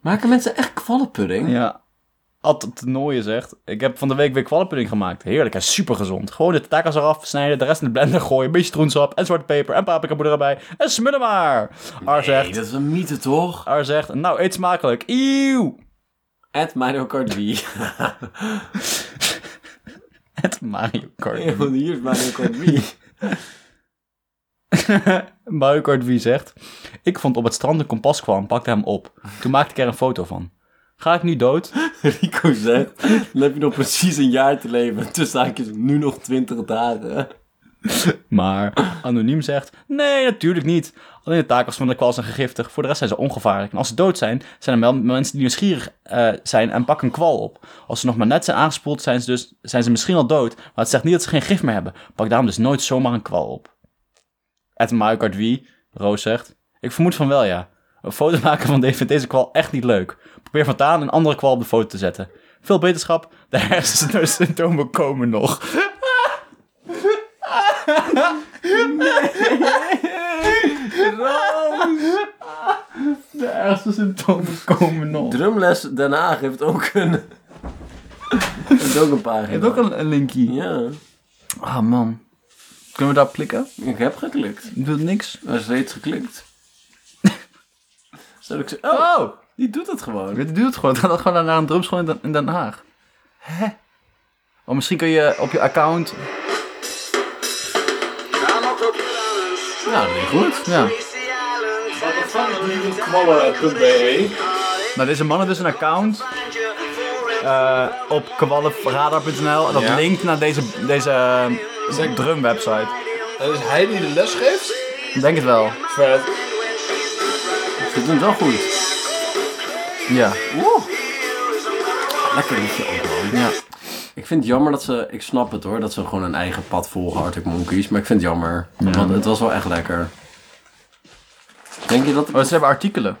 Maken mensen echt kwallenpudding?
Ja.
Ad Nooijen zegt, ik heb van de week weer kwallenpudding gemaakt. Heerlijk en supergezond. Gewoon de tatakas eraf snijden, de rest in de blender gooien, een beetje stroensap en zwarte peper en paprikapoeder erbij. En smullen maar! Ar
Nee,
zegt,
dat is een mythe toch?
Ar zegt, nou eet smakelijk. Ieuw!
At Mario Kart Wii.
Het Mario Kart.
Ja, want Hier is Mario Kart Wii.
Mario Kart Wii zegt, ik vond op het strand een kompas kwam, pakte hem op. Toen maakte ik er een foto van. Ga ik nu dood?
Rico zegt, dan heb je nog precies een jaar te leven. Tussen haakjes nu nog 20 dagen.
Maar Anoniem zegt, nee, natuurlijk niet. Alleen de takels van de kwal zijn gegiftig, voor de rest zijn ze ongevaarlijk. En als ze dood zijn, zijn er wel mensen die nieuwsgierig eh, zijn en pakken een kwal op. Als ze nog maar net zijn aangespoeld, zijn ze, dus, zijn ze misschien al dood. Maar het zegt niet dat ze geen gif meer hebben. Pak daarom dus nooit zomaar een kwal op. At Mario Kart Wii, Roos zegt, ik vermoed van wel ja. Een foto maken van deze- deze kwal echt niet leuk. Probeer vandaan een andere kwal op de foto te zetten. Veel beterschap, de hersensymptomen komen nog. De hersensymptomen komen nog.
Drumles Den Haag heeft ook een... heeft ook een pagina.
Je hebt ook een, een linkie.
Ja,
Ah man. Kunnen we daar klikken?
ik heb geklikt.
Ik doe niks.
Er is reeds geklikt. Zou ik ze... Oh,
Oh!
die doet het gewoon.
Dit doet het gewoon. Dat gewoon naar een drumschool in Den, in Den Haag. Hè? Oh, misschien kun je op je account...
Nou, dat is goed.
Ja. Nou, deze man heeft dus een account eh, op kwallenradar.nl. En dat
Ja.
linkt naar deze, deze eh, drumwebsite.
En is hij die de les geeft?
Ik Denk het wel.
Vet.
Ze doen het wel goed.
Ja.
Lekker liedje ook, man. Ja. Ik vind het jammer dat ze... Ik snap het hoor, dat ze gewoon een eigen pad volgen, Arctic Monkeys. Maar ik vind het jammer. Want het was wel echt lekker. Denk je dat...
Maar Oh, ze hebben artikelen.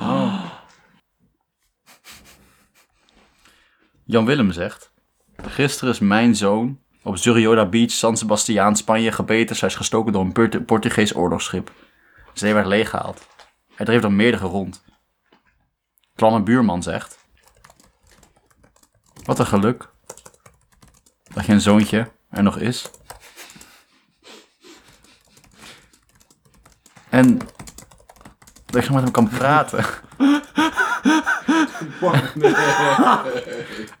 Oh. Jan Willem zegt... Gisteren is mijn zoon op Surioda Beach, San Sebastiaan, Spanje gebeten. Zij is gestoken door een Port- Portugees oorlogsschip. Zijn zee werd leeggehaald. Hij dreef er meerdere rond. Klamme buurman zegt... Wat een geluk. Dat je een zoontje er nog is. En dat je nog met hem kan praten.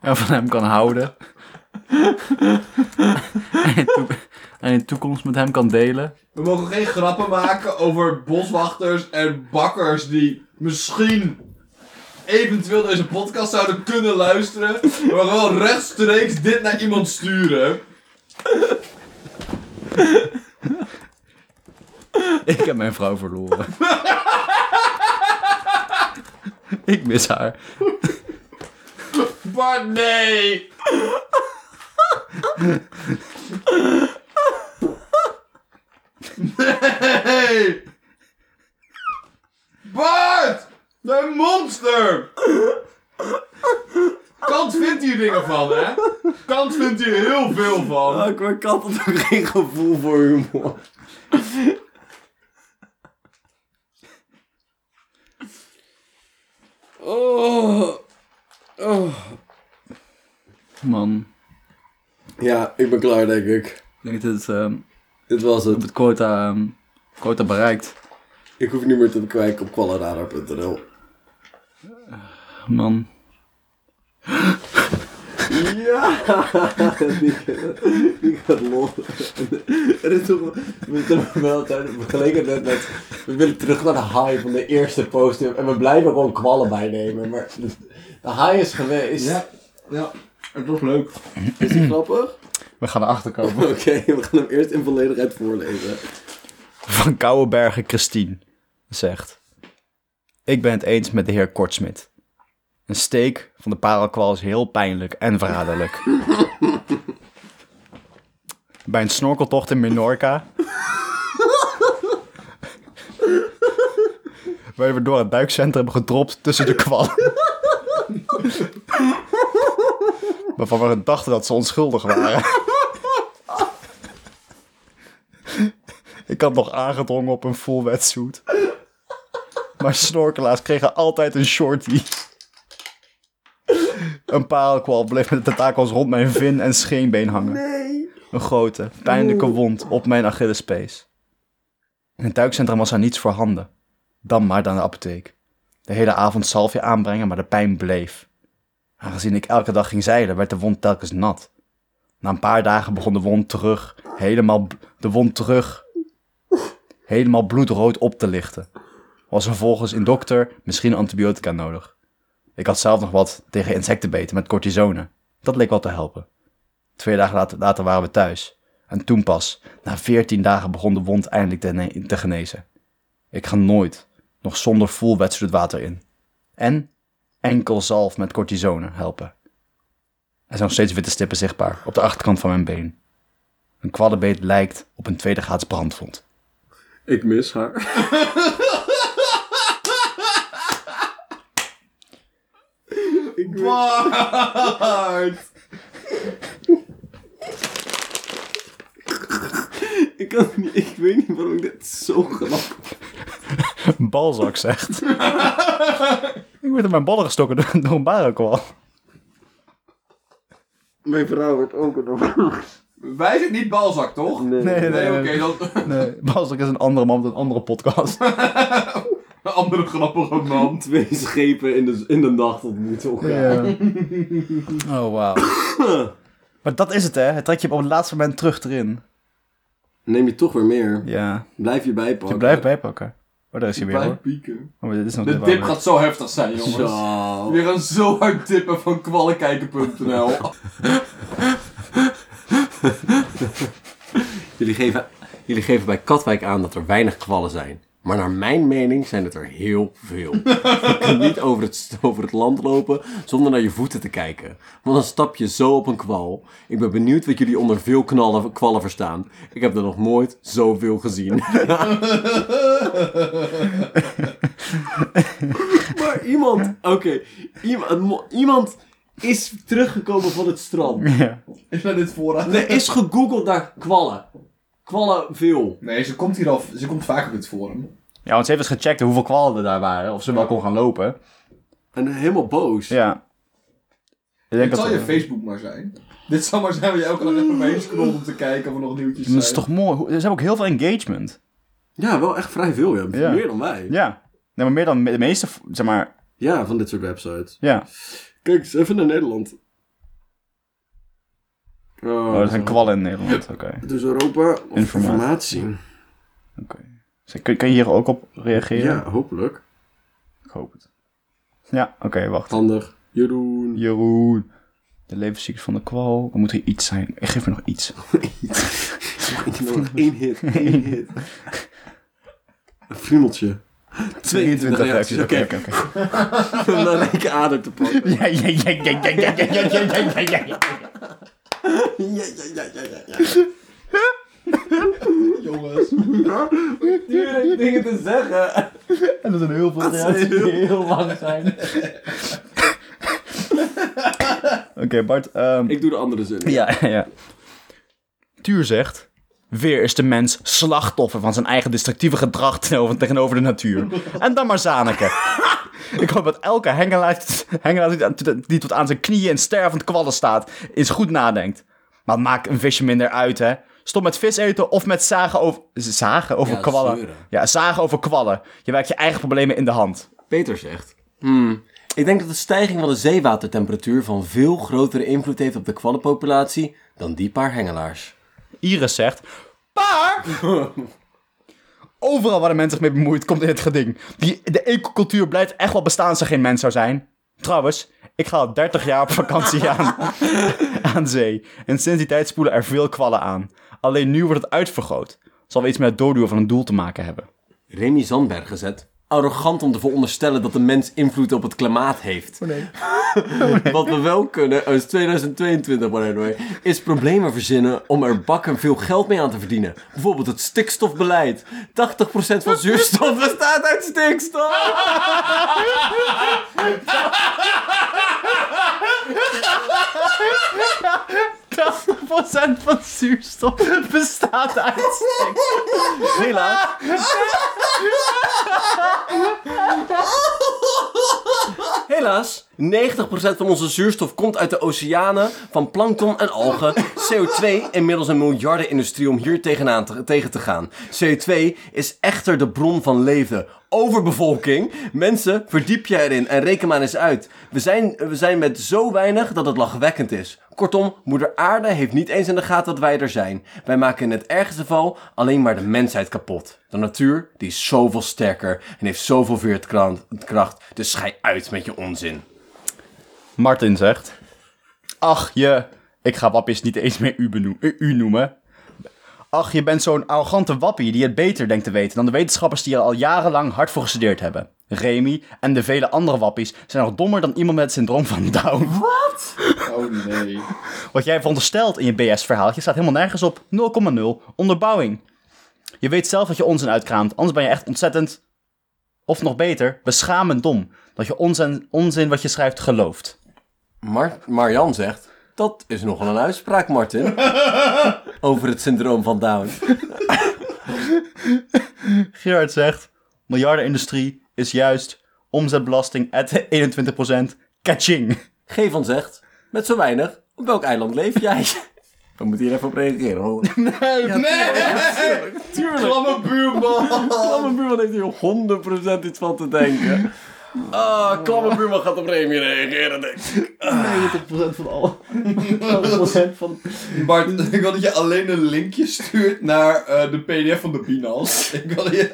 en van hem kan houden. en, in toek- en in de toekomst met hem kan delen.
We mogen geen grappen maken over boswachters en bakkers die misschien eventueel deze podcast zouden kunnen luisteren. Maar wel rechtstreeks dit naar iemand sturen.
Ik heb mijn vrouw verloren. Ik mis haar.
Bart, nee! Nee! Bart! Een monster! Kant vindt hier dingen van, hè? Kant vindt hier heel veel van.
Ik had ook geen gevoel voor humor.
Man,
Ja, ik ben klaar, denk ik.
ik denk dat het, ehm,
Dit was het.
het quota, ehm, quota bereikt.
Ik hoef niet meer te bekijken op kwalradar.nl.
Man.
Ik had lol. Er is toch we zijn wel tijd vergeleken net met. We willen terug naar de high van de eerste post. En we blijven gewoon kwallen bijnemen. Maar de, de high is geweest.
ja. Het was leuk.
Is die grappig?
We gaan erachter komen.
Oké, we gaan hem eerst in volledigheid voorlezen.
Van Kouwenbergen Christine zegt... Ik ben het eens met de heer Kortsmit. Een steek van de parelkwal is heel pijnlijk en verraderlijk. Bij een snorkeltocht in Menorca... werden we door het duikcentrum gedropt tussen de kwal. waarvan we dachten dat ze onschuldig waren. ik had nog aangedrongen op een full wetsuit. Maar snorkelaars kregen altijd een shorty. Een parelkwal bleef met de tentakels rond mijn vin en scheenbeen hangen. Een grote, pijnlijke wond op mijn Achillespees. In het duikcentrum was er niets voorhanden. Dan maar naar de apotheek. De hele avond salfje aanbrengen, maar de pijn bleef. Aangezien ik elke dag ging zeilen, werd de wond telkens nat. Na een paar dagen begon de wond terug, helemaal b- de wond terug, helemaal bloedrood op te lichten. Was er volgens een dokter misschien antibiotica nodig. Ik had zelf nog wat tegen insectenbeten met cortisone. Dat leek wel te helpen. Twee dagen later, later waren we thuis. En toen pas, na veertien dagen, begon de wond eindelijk te, ne- te genezen. Ik ga nooit, nog zonder voel het water in. En enkel zalf met cortisone helpen. Er zijn nog steeds witte stippen zichtbaar op de achterkant van mijn been. Een kwaddenbeet lijkt op een tweede graads brandwond.
Ik mis haar.
Bart!
Ik, kan niet, ik weet niet waarom ik dit zo grappig
Balzak zegt. ik word in mijn ballen gestoken door, door een barenkwal.
Mijn vrouw wordt ook een
Wij zijn niet balzak, toch?
Nee, nee,
Nee,
nee.
oké, dan
nee. Balzak is een andere man met een andere podcast.
een andere grappige man.
Twee schepen in de, in de nacht ontmoeten elkaar.
Oh, wauw. maar dat is het, hè. Het trek je op het laatste moment terug erin.
Neem je toch weer meer.
Ja.
Blijf je bijpakken.
Je blijft bijpakken. Oh, daar is hij weer, hoor.
Blijf pieken.
Oh, maar dit is nog
De
dit
dip gaat zo heftig zijn, jongens.
Zo.
We gaan zo hard tippen van kwallenkijken.nl.
Jullie geven, jullie geven bij Katwijk aan dat er weinig kwallen zijn. Maar naar mijn mening zijn het er heel veel. Je kunt niet over het, over het land lopen zonder naar je voeten te kijken. Want dan stap je zo op een kwal. Ik ben benieuwd wat jullie onder veel knallen, kwallen verstaan. Ik heb er nog nooit zoveel gezien. maar iemand, oké, iemand, iemand is teruggekomen van het strand.
Is dat dit voorraad?
Er is gegoogeld naar kwallen. Kwallen veel.
Nee, ze komt hier al, ze komt vaak op dit forum.
Ja, want ze heeft eens gecheckt hoeveel kwallen er daar waren. Of ze wel kon gaan lopen.
En helemaal boos.
Ja. Ik denk
Het
dat
zal je Facebook maar zijn. Dit zal maar zijn waar je elke dag even omheen scrollt om te kijken of er nog nieuwtjes zijn.
Dat Mm, is toch mooi. Hoe- Ze hebben ook heel veel engagement.
Ja, wel echt vrij veel. Ja.
Ja.
Meer dan wij. Ja.
Ja. Nee, maar meer dan de meeste, zeg maar.
van dit soort websites.
Ja.
Kijk eens even naar Nederland. Oh,
Oh, dat zijn kwallen in Nederland. Oké.
Dus Europa of
Informatie.
informatie.
Dus kun, kun je hier ook op reageren?
Ja, hopelijk.
Ik hoop het. Ja, oké, wacht.
Handig. Jeroen.
Jeroen. De levenscyclus van de kwal. Er moet hier iets zijn. Ik geef me nog iets.
Ik heb nog één hit. Één hit. Een friemeltje. 22 reacties. Oké,
Oké, oké.
om dan een ader te pakken.
Ja, ja, ja, ja, ja, ja, ja, ja, ja, ja, ja, ja.
Ja, ja, ja, ja, ja, ja.
Jongens.
Die heeft dingen te zeggen.
En er zijn heel veel reacties die heel lang zijn. Oké, Bart. ehm,
Ik doe de andere zin.
Ja, ja. Tuur zegt... Weer is de mens slachtoffer van zijn eigen destructieve gedrag tegenover, tegenover de natuur. En dan maar Zaneke. Ik hoop dat elke hengelaar, hengelaar die, aan- die tot aan zijn knieën in stervend kwallen staat, eens goed nadenkt. Maar het maakt een visje minder uit, hè? Stop met vis eten of met zagen over... Zagen over
Ja,
kwallen?
zeuren.
Ja, zagen over kwallen. Je werkt je eigen problemen in de hand.
Peter zegt. Hmm. Ik denk dat de stijging van de zeewatertemperatuur van veel grotere invloed heeft op de kwallenpopulatie dan die paar hengelaars.
Iris zegt... Paar! Overal waar de mens zich mee bemoeit, komt in het geding. Die, de ecocultuur blijft echt wel bestaan als er geen mens zou zijn. Trouwens, ik ga al 30 jaar op vakantie aan, aan zee. En sinds die tijd spoelen er veel kwallen aan. Alleen nu wordt het uitvergroot. Zal wel iets met het doorduwen van een doel te maken hebben.
Remy Zandberg gezet. arrogant om te veronderstellen dat de mens invloed op het klimaat heeft. Wat we wel kunnen, oh, uit 2022 by the way, is problemen verzinnen om er bakken veel geld mee aan te verdienen. Bijvoorbeeld het stikstofbeleid. 80% van zuurstof bestaat uit stikstof!
procent van zuurstof bestaat uit.
Helaas. Helaas, 90% van onze zuurstof komt uit de oceanen, van plankton en algen. CO2 inmiddels een miljardenindustrie om hier tegenaan te, tegen te gaan. CO2 is echter de bron van leven. Overbevolking. Mensen, verdiep je erin en reken maar eens uit. We zijn, we zijn met zo weinig dat het lachwekkend is. Kortom, moeder aarde heeft niet eens in de gaten dat wij er zijn. Wij maken in het ergste geval alleen maar de mensheid kapot. De natuur, die is zoveel sterker en heeft zoveel veerkracht. Dus schei uit met je onzin.
Martin zegt. Ach je, ik ga wappies niet eens meer u, beno- eh, u noemen. Ach, je bent zo'n arrogante wappie die het beter denkt te weten dan de wetenschappers die er al jarenlang hard voor gestudeerd hebben. Remy en de vele andere wappies zijn nog dommer dan iemand met het syndroom van Down.
Oh nee.
Wat jij veronderstelt in je BS-verhaaltje staat helemaal nergens op. 0,0 onderbouwing. Je weet zelf dat je onzin uitkraamt, anders ben je echt ontzettend. Of nog beter, beschamend dom. Dat je onzin, onzin wat je schrijft gelooft.
Mar Marjan zegt, dat is nogal een uitspraak, Martin. Over het syndroom van Down.
Gerard zegt: miljardenindustrie is juist omzetbelasting at 21%. Kaching.
Gevan zegt, met zo weinig, op welk eiland leef jij? We moeten hier even op reageren, hoor.
Klamme buurman.
Klamme buurman heeft hier 100% iets van te denken. Ah, klamme buurman gaat op Remy reageren, denk ik.
Bart, ik wil dat je alleen een linkje stuurt naar eh, de pdf van de Binance. Ik wil dat je...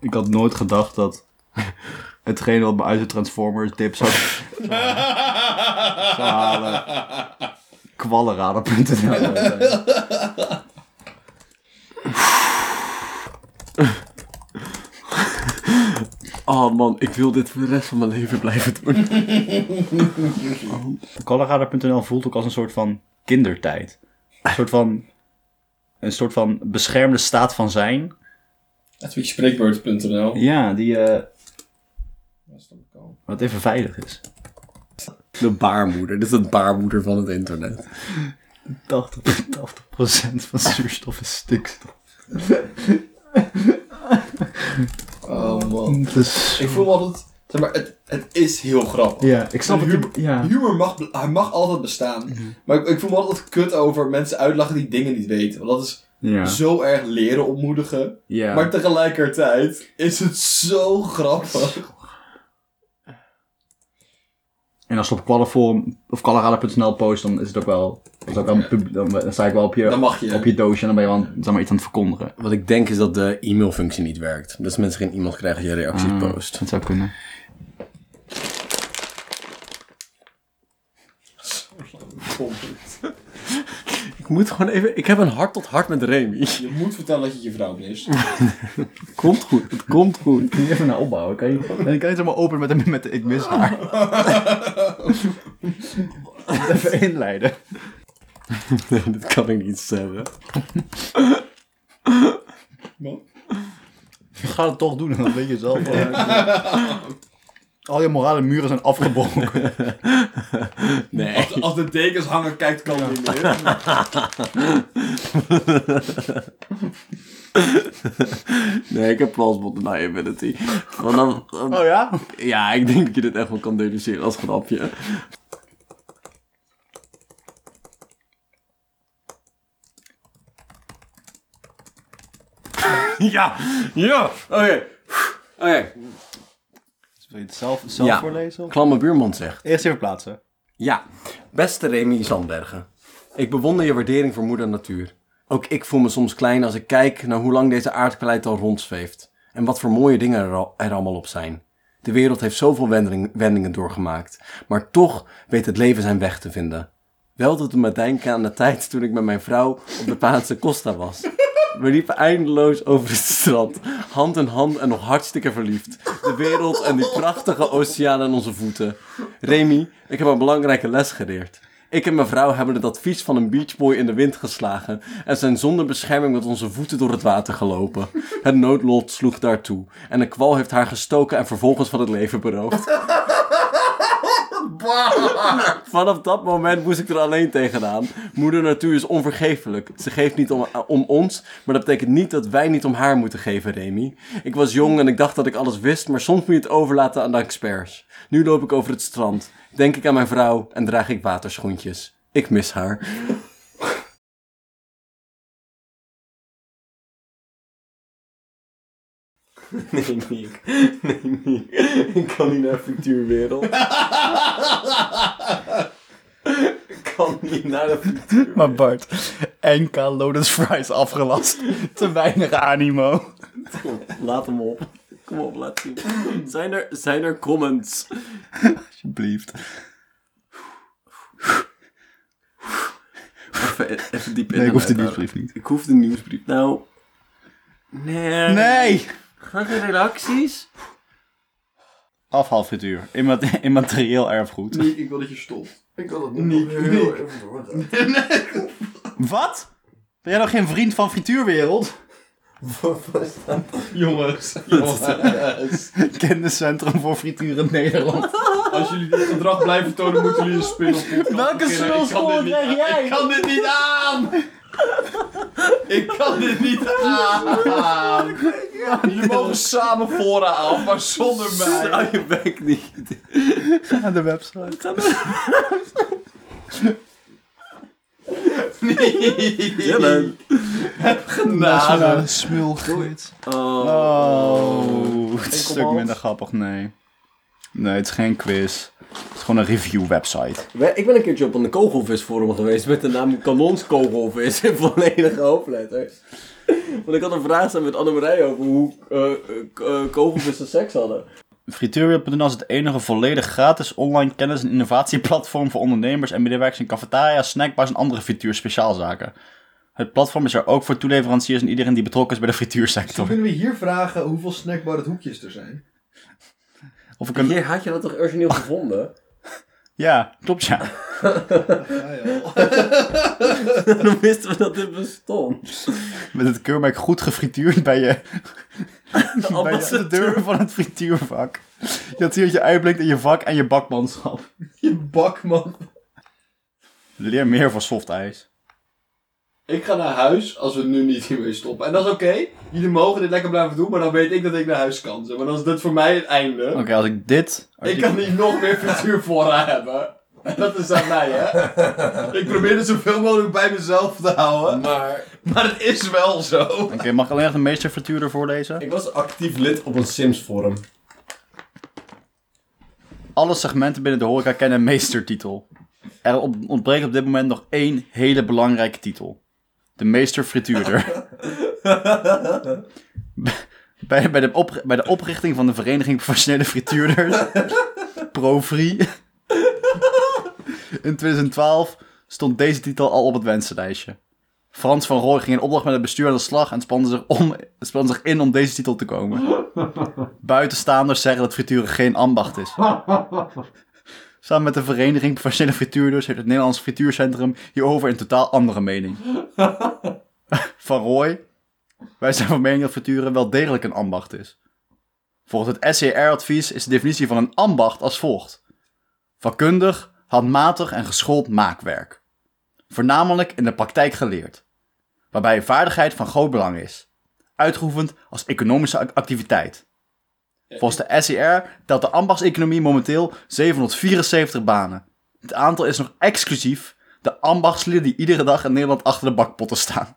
Ik had nooit gedacht dat hetgeen wat me uit de Transformers dip zou, zou halen kwallenradar.nl zou zijn.
Oh man, ik wil dit voor de rest van mijn leven blijven doen.
Kwallenradar.nl voelt ook als een soort van kindertijd. Een soort van, een soort van beschermde staat van zijn.
Het is spreekbeurt.nl.
Ja, die eh, wat even veilig is.
De baarmoeder, dit is het baarmoeder van het internet.
80%, 80% van zuurstof is stikstof.
Oh man.
Dus,
Ik voel altijd... Zeg maar, het, het is heel grappig.
ja, ik snap het. Ja.
Humor mag, bl- hij mag altijd bestaan. Maar ik, ik voel me altijd kut over mensen uitlachen die dingen niet weten. Want dat is
Ja.
zo erg leren ontmoedigen.
ja.
Maar tegelijkertijd is het zo grappig.
En als je op Qualiform of Colorado.nl post, dan is het ook wel. dat Is ook wel een pub- dan, dan sta ik wel op je,
Dan mag je.
op je doosje en dan ben je wel aan- zeg maar, iets aan het verkondigen.
Wat ik denk is dat de e-mailfunctie niet werkt. Dus mensen geen e-mail krijgen als je reacties post.
Dus Dat zou kunnen.
Ik moet gewoon even... Ik heb een hart tot hart met Remy.
Je moet vertellen dat je je vrouw mist.
Komt goed, het komt goed.
Kun je even naar opbouwen? Kan je,
En ik kan het helemaal open met de, met de ik mis haar.
even inleiden?
Nee, dit kan ik niet zeggen.
Ga het toch doen, dan weet je zelf wel. Al je morale muren zijn afgebroken.
Nee.
Als de dekens hangen, kijkt kan niet meer.
Nee, ik heb plausible deniability. Want dan, dan-
Oh ja?
ja, ik denk dat je dit echt wel kan deduceren als grapje. ja, ja, oké. Oké,
Wil je het zelf, zelf
Ja.
voorlezen? Of?
klamme buurman zegt.
Eerst even plaatsen.
Ja, beste Remy Zandbergen. Ik bewonder je waardering voor moeder natuur. Ook ik voel me soms klein als ik kijk naar hoe lang deze aardkleid al rondzweeft. En wat voor mooie dingen er, al- er allemaal op zijn. De wereld heeft zoveel wending- wendingen doorgemaakt. Maar toch weet het leven zijn weg te vinden. Wel doet het me denken aan de tijd toen ik met mijn vrouw op de Spaanse Costa was. We liepen eindeloos over het strand, hand in hand en nog hartstikke verliefd. De wereld en die prachtige oceaan aan onze voeten. Remy, ik heb een belangrijke les geleerd. Ik en mijn vrouw hebben het advies van een beachboy in de wind geslagen en zijn zonder bescherming met onze voeten door het water gelopen. Het noodlot sloeg daartoe en de kwal heeft haar gestoken en vervolgens van het leven beroofd. Vanaf dat moment moest ik er alleen tegenaan. Moeder natuur is onvergeeflijk. Ze geeft niet om, eh, om ons, maar dat betekent niet dat wij niet om haar moeten geven, Remy. Ik was jong en ik dacht dat ik alles wist, maar soms moet je het overlaten aan de experts. Nu loop ik over het strand, denk ik aan mijn vrouw en draag ik waterschoentjes. Ik mis haar. Nee, Niek. Nee, Niek. Ik kan niet naar Futuurwereld. Ik kan niet naar de Futuurwereld.
Maar Bart, NK Lotus Fries afgelast. Te weinig animo.
Laat hem op. Kom op, laat zien. Zijn er, zijn er comments?
Alsjeblieft.
Even, e-, even diep in.
Nee, ik hoef de
adem.
nieuwsbrief niet.
Ik hoef de nieuwsbrief. Nou. Nee.
Nee!
Graag in reacties?
Afhaalfrituur. Imma- Immaterieel erfgoed.
Nee, ik wil dat je stopt. Ik wil dat niet. even doorgaan.
Wat? Ben jij nog geen vriend van frituurwereld?
Jongens, jongens.
Kenniscentrum voor frituur in Nederland.
Als jullie dit gedrag blijven tonen, moeten jullie een spin-off
Welke spilschool krijg jij?
Ik kan dit niet aan! Ik kan dit niet aan! Jullie mogen samen fora af, maar zonder mij.
Zou je bek niet.
Aan de website.
Jellen.
Nationale smulgids.
Oh.
Oh, het is een stuk minder grappig, nee. Nee, het is geen quiz. Het is gewoon een review website.
We- Ik ben een keertje op een kogelvisforum geweest met de naam Kanonskogelvis in volledige hoofdletters. Want ik had een vraag staan met Annemarij over hoe eh, eh, k- eh, kogelvissen seks hadden.
Frituurwereld.nl is het enige volledig gratis online kennis- en innovatieplatform voor ondernemers en medewerkers in cafetaria's, snackbars en andere frituurspeciaalzaken. Het platform is er ook voor toeleveranciers en iedereen die betrokken is bij de frituursector.
Kunnen we hier vragen hoeveel snackbar het hoekjes er zijn?
Of ik een...
Hier had je dat toch origineel gevonden?
Ja, klopt ja.
Dan wisten we dat dit bestond.
Met het keurmerk goed gefrituurd bij je,
De
bij je de deur van het frituurvak. Je had hier dat je uitblinkt in je vak en je bakmanschap.
Je bakman.
Leer meer van soft ijs.
Ik ga naar huis als we nu niet hiermee stoppen. En dat is oké. Jullie mogen dit lekker blijven doen, maar dan weet ik dat ik naar huis kan. Zeg Maar dan is dit voor mij het einde.
Oké, als ik dit...
Ik kan niet nog meer frituur voor haar hebben. En dat is aan mij, hè? Ik probeer het zoveel mogelijk bij mezelf te houden.
Maar
Maar het is wel zo.
Oké, mag ik alleen nog de meesterfrituurder voorlezen?
Ik was actief lid op een Sims-forum.
Alle segmenten binnen de horeca kennen een meestertitel. Er ont- ontbreekt op dit moment nog één hele belangrijke titel. De meesterfrituurder. bij, bij, de op, bij de oprichting van de Vereniging Professionele Frituurders, Profri, in 2012 stond deze titel al op het wensenlijstje. Frans van Rooij ging in opdracht met het bestuur aan de slag en spande zich, om, spande zich in om deze titel te komen. Buitenstaanders zeggen dat frituren geen ambacht is. Samen met de Vereniging Professionele Frituurders heeft het Nederlands Frituurcentrum hierover een totaal andere mening. van Roy, wij zijn van mening dat frituren wel degelijk een ambacht is. Volgens het SCR-advies is de definitie van een ambacht als volgt: vakkundig, handmatig en geschoold maakwerk. Voornamelijk in de praktijk geleerd, waarbij vaardigheid van groot belang is, uitgeoefend als economische ac- activiteit. Volgens de SER telt de ambachtseconomie momenteel 774 banen. Het aantal is nog exclusief de ambachtslieden die iedere dag in Nederland achter de bakpotten staan.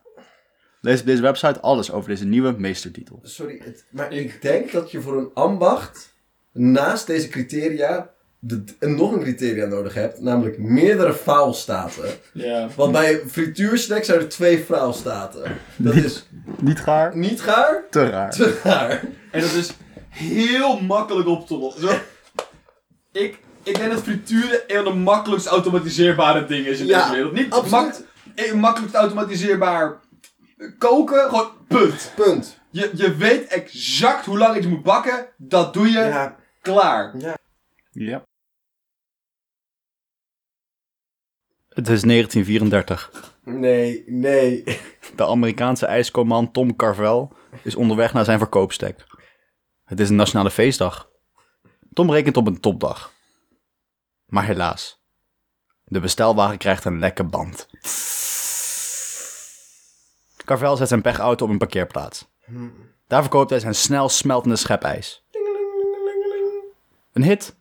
Lees op deze website alles over deze nieuwe meestertitel.
Sorry, het- maar ik denk dat je voor een ambacht naast deze criteria de, en nog een criteria nodig hebt, namelijk meerdere faalstaten.
Ja.
Want bij frituursnack zijn er twee faalstaten. Dat is
Niet gaar?
niet gaar,
Te raar.
te gaar.
En dat is heel makkelijk op te lossen. Zo. Ik, ik denk dat frituren een van de makkelijkst automatiseerbare dingen is in
Ja,
deze wereld. Niet
absoluut.
mak- een makkelijkst automatiseerbaar koken, gewoon punt.
Punt.
Je, je weet exact hoe lang iets moet bakken, dat doe je,
Ja.
klaar.
Ja. Het is 1934.
Nee, nee.
De Amerikaanse ijskoman Tom Carvel is onderweg naar zijn verkoopstek. Het is een nationale feestdag. Tom rekent op een topdag. Maar helaas. De bestelwagen krijgt een lekke band. Carvel zet zijn pechauto op een parkeerplaats. Daar verkoopt hij zijn snel smeltende schepijs. Een hit.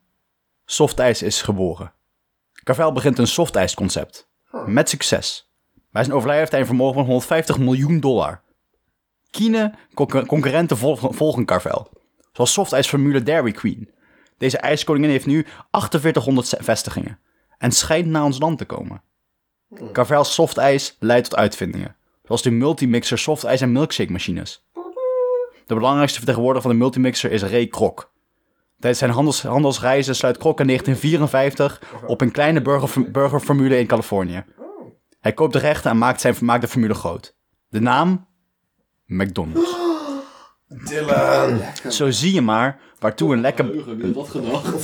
Softijs is geboren. Carvel begint een softijsconcept. Met succes. Bij zijn overlijden heeft hij een vermogen van 150 miljoen dollar. Kine concur- concurrenten volgen, volgen Carvel. Zoals softijsformule Dairy Queen. Deze ijskoningin heeft nu 4800 se- vestigingen. En schijnt naar ons land te komen. Carvel's softijs leidt tot uitvindingen. Zoals de multimixer softijs en milkshake machines. De belangrijkste vertegenwoordiger van de multimixer is Ray Kroc. Tijdens zijn handels, handelsreizen sluit Kroc in 1954 op een kleine burger, burgerformule in Californië. Hij koopt de rechten en maakt, zijn, maakt de formule groot. De naam? McDonald's. Dylan. Zo zie je maar waartoe een lekke,
Wat gedacht.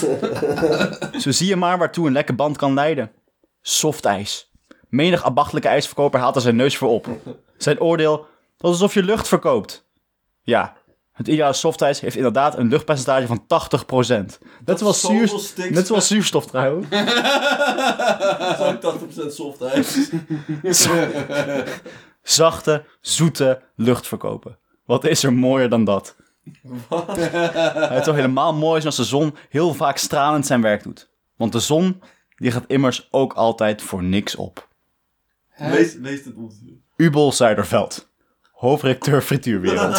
zo zie je maar waartoe een lekke band kan leiden. Soft ijs. Menig ambachtelijke ijsverkoper haalt er zijn neus voor op. Zijn oordeel, dat is alsof je lucht verkoopt. Ja, het ideale softijs heeft inderdaad een luchtpercentage van 80%. Net zoals,
zoveel
zuur,
stikstof.
net zoals zuurstof trouwens.
Dat is 80% soft ijs.
zachte, zoete lucht verkopen. Wat is er mooier dan dat? Het zou helemaal mooi zijn als de zon heel vaak stralend zijn werk doet. Want de zon, die gaat immers ook altijd voor niks op.
Lees-
het ons.
Ubel Zuiderveld, hoofdrecteur Frituurwereld.